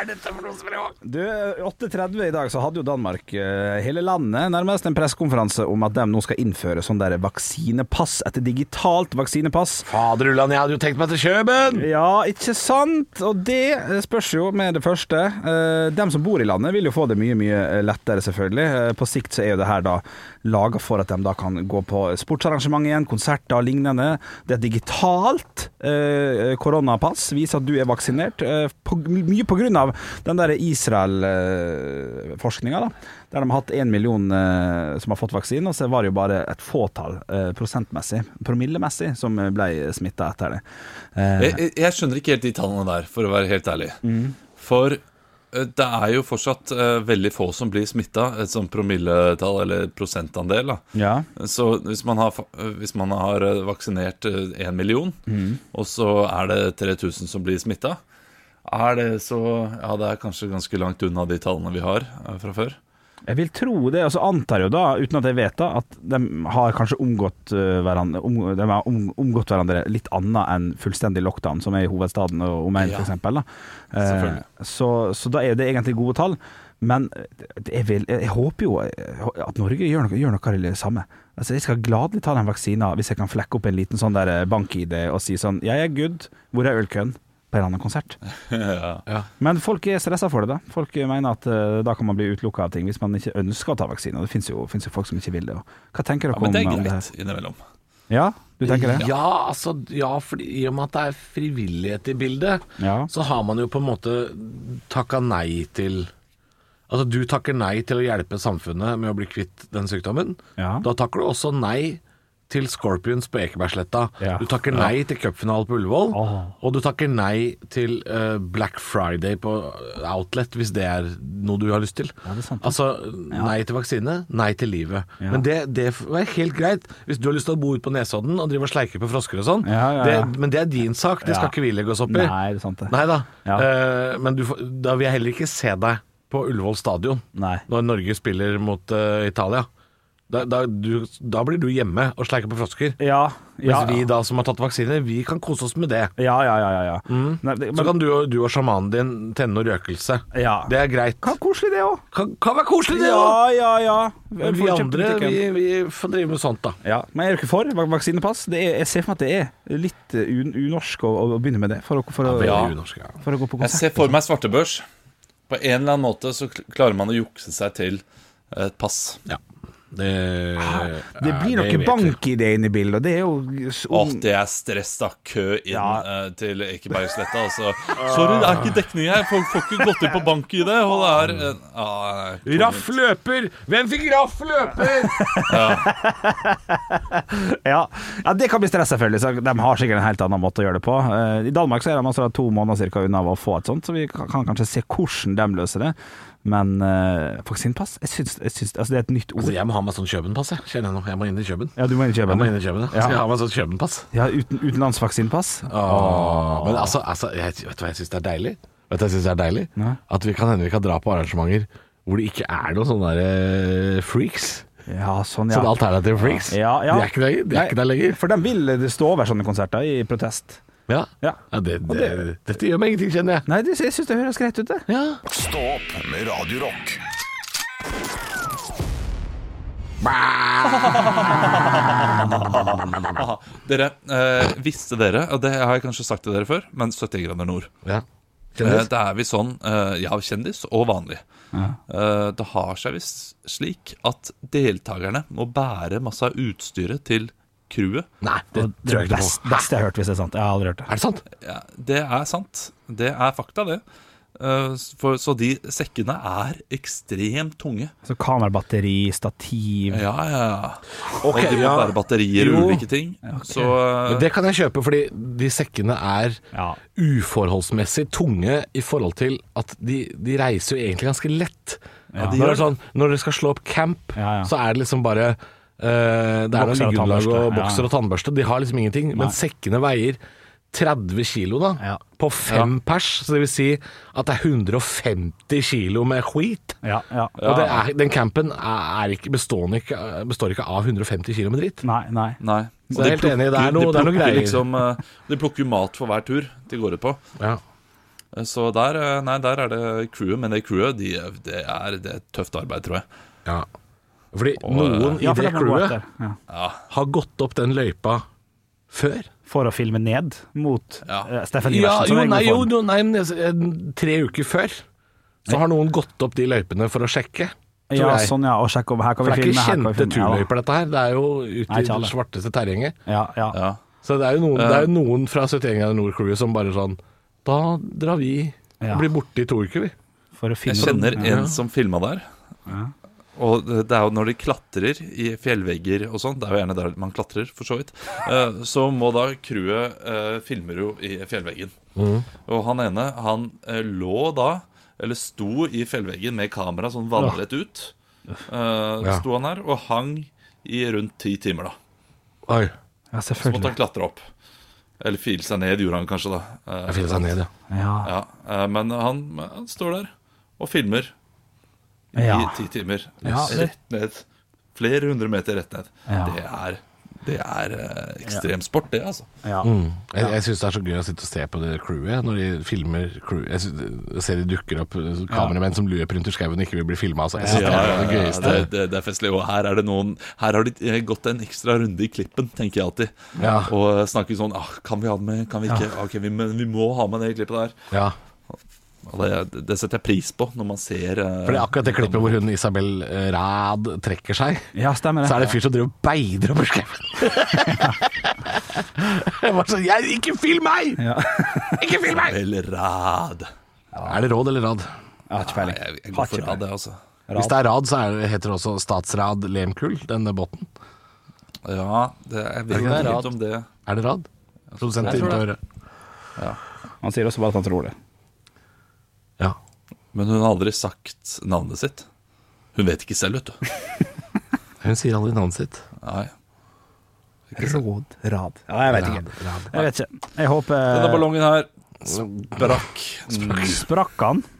Speaker 5: er dette for noe språk?
Speaker 3: Du, 8.30 i dag så hadde jo Danmark eh, hele landet nærmest en pressekonferanse om at de nå skal innføre sånn der vaksinepass, et digitalt vaksinepass.
Speaker 5: Fader ullan, jeg hadde jo tenkt meg til Kjøben!
Speaker 3: Ja, ikke sant? Og det eh, spørs jo med det første. Eh, Dem som bor i landet vil jo få det mye, mye lettere, selvfølgelig. Eh, På sikt så er jo det her da laga for at de da kan gå på sportsarrangement igjen, konserter og lignende. Det er digitalt eh, koronapass, viser at du er vaksinert. eh, På, mye på grunn av den der Israel-forskninga, da. Der de har hatt én million eh, som har fått vaksine, og så var det jo bare et fåtall eh, prosentmessig, promillemessig, som ble smitta etter det. Eh,
Speaker 4: jeg, jeg- jeg skjønner ikke helt de tallene der, for å være helt ærlig.
Speaker 3: Mm.
Speaker 4: For eh, det er jo fortsatt eh, veldig få som blir smitta, et sånt promilletall eller prosentandel. da
Speaker 3: Ja.
Speaker 4: Så hvis man har, fa- hvis man har eh, vaksinert eh, en million, og så er det 3000 som blir smitta, er det så Ja, det er kanskje ganske langt unna de tallene vi har eh, fra før.
Speaker 3: Jeg vil tro det, og så antar jeg jo da, uten at jeg vet da, at de har kanskje omgått eh, hverandre, om, de har om, omgått hverandre litt annet enn fullstendig lockdown, som er i hovedstaden og omegn
Speaker 4: Ja.
Speaker 3: for eksempel. Da. Eh,
Speaker 4: Selvfølgelig.
Speaker 3: så, så da er det egentlig gode tall, men eh, det- jeg, vil, jeg håper jo eh, at Norge gjør noe, gjør noe av det samme. Altså, jeg skal gladelig ta den vaksinen hvis jeg kan flekke opp en liten sånn der eh, bank-ID og si sånn, jeg er good, hvor er ølkøen? På en eller annen konsert.
Speaker 4: ja.
Speaker 3: Men folk er stressa for det, da. Folk mener at eh, da kan man bli utelukka av ting hvis man ikke ønsker å ta vaksine. Og Det finnes jo, finnes jo folk som ikke vil det. Og. Hva tenker dere
Speaker 4: ja, men det er
Speaker 3: om, om det
Speaker 4: greit
Speaker 3: her?
Speaker 4: innimellom.
Speaker 3: Ja, du tenker det?
Speaker 5: Ja, altså, ja, fordi i og med at det er frivillighet i bildet,
Speaker 3: Ja.
Speaker 5: så har man jo på en måte takka nei til Altså, du takker nei til å hjelpe samfunnet med å bli kvitt den sykdommen.
Speaker 3: Ja.
Speaker 5: Da takker du også nei til Scorpions på Ekebergsletta.
Speaker 3: Ja.
Speaker 5: Du takker nei til cupfinale på Ullevål. Og du takker nei til eh, Black Friday på eh, Outlet, hvis det er noe du har lyst til.
Speaker 3: Ja, det er sant.
Speaker 5: Altså, nei til vaksine, nei til livet.
Speaker 3: Ja.
Speaker 5: Men det, det er helt greit. Hvis du har lyst til å bo ute på Nesodden og drive og sleike på frosker og sånn,
Speaker 3: Ja, ja, ja.
Speaker 5: Det, men det er din sak. Det skal
Speaker 3: Ja.
Speaker 5: ikke vi legge oss opp i.
Speaker 3: Nei, det er sant det.
Speaker 5: Nei da.
Speaker 3: Ja.
Speaker 5: Eh, men du, får- da vil jeg heller ikke se deg på Ullevål stadion
Speaker 3: Nei.
Speaker 5: når Norge spiller mot eh, Italia. Da- Da, da, du, da blir du hjemme og sleiker på frosker.
Speaker 3: Ja, ja,
Speaker 5: Mens vi da som har tatt vaksine, vi kan kose oss med det.
Speaker 3: Ja, ja, ja, ja.
Speaker 5: Mm.
Speaker 3: Nei, det-
Speaker 5: Så
Speaker 3: men-
Speaker 5: kan du, og- du og sjamanen din tenne noe røkelse.
Speaker 3: ja.
Speaker 5: Det er greit.
Speaker 3: Kan koselig det òg.
Speaker 5: Kan, kan være koselig, det òg!
Speaker 3: Ja, ja, ja.
Speaker 5: Men vi
Speaker 3: Får kjøpt
Speaker 5: andre,
Speaker 3: butikken.
Speaker 5: vi, vi får drive med sånt, da.
Speaker 3: Ja, Men er du ikke for vak- vaksinepass? Det er, jeg ser for meg at det er litt eh, un unorsk å, å begynne med det. For å, for å,
Speaker 5: Veldig unorsk, ja.
Speaker 3: for å gå på
Speaker 4: Jeg ser
Speaker 3: konsert.
Speaker 4: for meg svartebørs. På en eller annen måte så kl- klarer man å jukse seg til et pass.
Speaker 5: Ja. Det,
Speaker 3: Ah, Det blir noe bank i det inne i bildet, og det er jo s-
Speaker 4: Å,
Speaker 3: ung-
Speaker 4: det er stress, da. Kø inn
Speaker 3: Oh. Ja.
Speaker 4: eh, til Ekebergsletta. Altså. Sorry, det er ikke dekning her. Folk får ikke gått inn på bank i det. Og det er eh, ah, nei,
Speaker 5: Raff løper! Hvem fikk Raff løper?
Speaker 3: Ja. ja, det kan bli stress selvfølgelig. Så de har sikkert en helt annen måte å gjøre det på. Eh, I Danmark så er de altså to måneder cirka unna av å få et sånt, så vi kan kan kanskje se hvordan de løser det. Men uh, vaksinepass jeg syns, jeg syns, altså, Det er et nytt ord.
Speaker 5: Altså, jeg må ha meg sånn Kjøben-pass, jeg. Kjenner jeg nå. Jeg må inn i Kjøben.
Speaker 3: Ja, du må inn i
Speaker 5: Jeg må
Speaker 3: Kjøben.
Speaker 5: inn i Kjøben, ja.
Speaker 3: Ja. Ah.
Speaker 5: Skal jeg ha meg sånn Kjøben-pass?
Speaker 3: Ja, uten, utenlandsvaksinepass.
Speaker 5: Åh. Men altså, altså jeg, vet du hva jeg syns er deilig? Vet du hva jeg synes er deilig?
Speaker 3: Nei.
Speaker 5: At vi kan hende vi kan dra på arrangementer hvor det ikke er noen sånne der, eh, freaks.
Speaker 3: Ja, sånn, ja.
Speaker 5: Sånne alternative freaks.
Speaker 3: Ja, ja.
Speaker 5: De er ikke der, de er
Speaker 3: Nei,
Speaker 5: ikke der lenger.
Speaker 3: For de vil det stå over sånne konserter i protest.
Speaker 5: Ja.
Speaker 3: Ja.
Speaker 5: Ja, det, det, dette gjør meg ingenting, kjenner jeg.
Speaker 3: Nei, det, jeg syns det høres greit ut, det.
Speaker 5: Ja.
Speaker 1: Stå opp med Radio Rock.
Speaker 4: Aha. Dere, eh, visste dere, og det har jeg kanskje sagt til dere før, men 70 grader nord
Speaker 5: ja.
Speaker 4: Eh, Da er vi sånn, eh, ja, kjendis og vanlig. Eh, Det har seg visst slik at deltakerne må bære masse av utstyret til crewet.
Speaker 5: Nei, det
Speaker 3: Og
Speaker 5: tror jeg ikke
Speaker 3: best-
Speaker 5: på.
Speaker 3: beste jeg har hørt, hvis det er sant. Jeg har aldri hørt det.
Speaker 5: Er det sant?
Speaker 4: Ja, det er sant. Det er fakta, det. Eh, For, så de sekkene er ekstremt tunge.
Speaker 3: Så kamerabatteri, stativ
Speaker 4: Ja, ja, ja.
Speaker 5: Ok,
Speaker 4: og de må
Speaker 5: ja.
Speaker 4: bære batterier og
Speaker 5: Jo.
Speaker 4: ulike ting. Så eh,
Speaker 5: Men det kan jeg kjøpe, fordi de sekkene er
Speaker 3: Ja.
Speaker 5: uforholdsmessig tunge i forhold til at de, de reiser jo egentlig ganske lett.
Speaker 4: de
Speaker 5: når,
Speaker 4: gjør
Speaker 5: det er sånn, når dere skal slå opp camp,
Speaker 3: Ja, ja.
Speaker 5: så er det liksom bare eh, Det er noe
Speaker 3: Bokser og
Speaker 5: liggeunderlag
Speaker 3: tannbørste,
Speaker 5: og
Speaker 3: ja.
Speaker 5: bokser og tannbørste. De har liksom ingenting. Men sekkene veier 30 kilo da,
Speaker 3: Ja.
Speaker 5: på fem pers. Så det vil si at det er 150 kilo med skit.
Speaker 3: Ja, ja.
Speaker 5: Og det er, den campen er, er ikke, består, ikke, består ikke av 150 kilo med dritt.
Speaker 3: Nei, nei.
Speaker 4: Nei.
Speaker 5: Så
Speaker 4: Og
Speaker 5: jeg er helt enig, det er noe-
Speaker 4: de
Speaker 5: det er noe
Speaker 4: plukker
Speaker 5: greier.
Speaker 4: Liksom, eh, de plukker jo mat for hver tur de går ut på.
Speaker 5: Ja.
Speaker 4: Eh, Så der, eh, nei, der er det crewet, men det crewet de, det er, det er et tøft arbeid, tror jeg.
Speaker 5: Ja. Fordi
Speaker 4: Og,
Speaker 5: noen
Speaker 3: Ja,
Speaker 5: i
Speaker 3: for
Speaker 5: det
Speaker 3: de har gått
Speaker 5: crewet
Speaker 3: der. Ja.
Speaker 5: har gått opp den løypa før.
Speaker 3: For å filme ned mot
Speaker 4: Ja.
Speaker 3: eh, Steffen Iversen. som
Speaker 5: jo,
Speaker 3: er i god
Speaker 5: nei, jo,
Speaker 3: form.
Speaker 5: jo, nei, men jeg- eh, tre uker før så har noen gått opp de løypene for å sjekke. tror
Speaker 3: ja,
Speaker 5: jeg.
Speaker 3: sånn, ja. Og sjekk om her kan
Speaker 5: For
Speaker 3: vi
Speaker 5: det er
Speaker 3: filme.
Speaker 5: ikke
Speaker 3: her kan vi
Speaker 5: kjente
Speaker 3: filme.
Speaker 5: turløyper, dette her. Det er jo ute
Speaker 3: Nei,
Speaker 5: i
Speaker 3: ikke alle.
Speaker 5: det svarteste terrenget.
Speaker 3: Ja, ja. ja.
Speaker 4: Ja.
Speaker 5: Så det er jo noen,
Speaker 4: Eh.
Speaker 5: det er jo noen fra 71 grader nord-crewet som bare sånn Da drar vi
Speaker 3: Ja.
Speaker 5: og blir borte i to uker, vi.
Speaker 3: For å
Speaker 4: Jeg
Speaker 3: filme
Speaker 4: kjenner
Speaker 3: den.
Speaker 4: en som filma der. Og det det er jo når de klatrer i fjellvegger og sånn, det er jo gjerne der man klatrer, for så vidt, eh, så må da crewet eh, filmer jo i fjellveggen. Og han ene, han eh, lå da, eller sto i fjellveggen med kamera sånn vannrett ut, eh,
Speaker 5: Ja.
Speaker 4: sto han her, og hang i rundt ti timer da.
Speaker 5: Oi.
Speaker 3: Ja,
Speaker 4: Så måtte
Speaker 3: selvfølgelig.
Speaker 4: han klatre opp. Eller file seg ned, gjorde han kanskje da. Eh,
Speaker 5: Jeg finner seg ned, ja.
Speaker 3: Ja.
Speaker 4: ja, eh, men han, han står der og filmer i
Speaker 3: Ja.
Speaker 4: ti timer.
Speaker 3: Ja, det-
Speaker 4: Rett ned. Flere hundre meter rett ned.
Speaker 3: Ja.
Speaker 4: Det er, det er eh, ekstrem sport, det, altså.
Speaker 3: Ja.
Speaker 5: Mm. Jeg, jeg syns det er så gøy å sitte og se på det crewet jeg, når de filmer crew. Jeg, synes, jeg ser de dukker opp eh, kameramenn som løper rundt i skauen og ikke vil bli filma. Altså. Jeg synes det er det gøyeste.
Speaker 4: det, det, det er festlig. Og her, er det noen, her har de eh, gått en ekstra runde i klippen, tenker jeg alltid.
Speaker 5: Ja.
Speaker 4: Og eh, snakker sånn ah, Kan vi ha det med? Kan vi ikke? Ok, vi, men vi må ha med det klippet der.
Speaker 5: Ja.
Speaker 4: Og det, det setter jeg pris på når man ser eh,
Speaker 5: For det er akkurat det klippet hvor hun Isabel eh, Rad trekker seg.
Speaker 3: ja, stemmer det.
Speaker 5: Så er det en fyr som driver og beider over skauen. Jeg var sånn jeg, Ikke film meg!
Speaker 3: Ja.
Speaker 5: Ikke film meg!
Speaker 4: Vel, rad.
Speaker 5: Er det råd eller rad?
Speaker 3: Jeg har ikke
Speaker 4: Nei,
Speaker 3: peiling.
Speaker 4: jeg, jeg
Speaker 3: Har
Speaker 4: går
Speaker 3: ikke
Speaker 4: for rad,
Speaker 3: peiling.
Speaker 4: jeg, altså.
Speaker 5: Hvis det er rad, så er det, heter det også statsrad Lemkull, denne båten.
Speaker 4: Ja, det, jeg vet
Speaker 5: ikke
Speaker 4: ikke
Speaker 5: det er
Speaker 4: helt
Speaker 5: rad?
Speaker 4: om det.
Speaker 5: Er det rad? Produsent
Speaker 4: Jeg tror
Speaker 5: innenfor
Speaker 4: det.
Speaker 5: øret.
Speaker 3: Han sier også bare at han tror det.
Speaker 5: Ja.
Speaker 4: Men hun har aldri sagt navnet sitt. Hun vet ikke selv, vet du.
Speaker 5: Hun sier aldri navnet sitt.
Speaker 4: Nei.
Speaker 3: Råd. Rad. Ja, jeg vet ikke.
Speaker 5: Rad.
Speaker 3: Jeg vet ikke. Jeg håper
Speaker 4: Denne ballongen her sprakk.
Speaker 3: Sprakk han?
Speaker 4: Mm.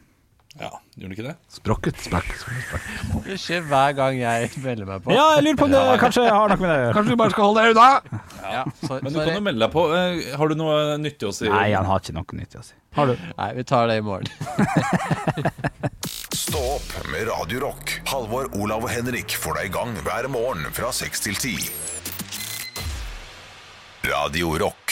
Speaker 4: Ja. Gjorde den ikke det?
Speaker 5: Sprokket. Sprakk, sprakk, sprakk.
Speaker 12: Det skjer hver gang jeg melder meg på.
Speaker 3: Ja, jeg lurer på om det kanskje har noe med det å gjøre.
Speaker 5: Kanskje du bare skal holde deg unna?
Speaker 12: Ja, sorry.
Speaker 4: Men du kan jo melde deg på. Eh, Har du noe nyttig å si?
Speaker 3: Nei, han har ikke noe nyttig å si. Har du?
Speaker 12: Nei, vi tar det i morgen.
Speaker 1: Stå opp med Radio Rock. Halvor, Olav og Henrik får deg i gang hver morgen fra 6 til 10. Radio Rock.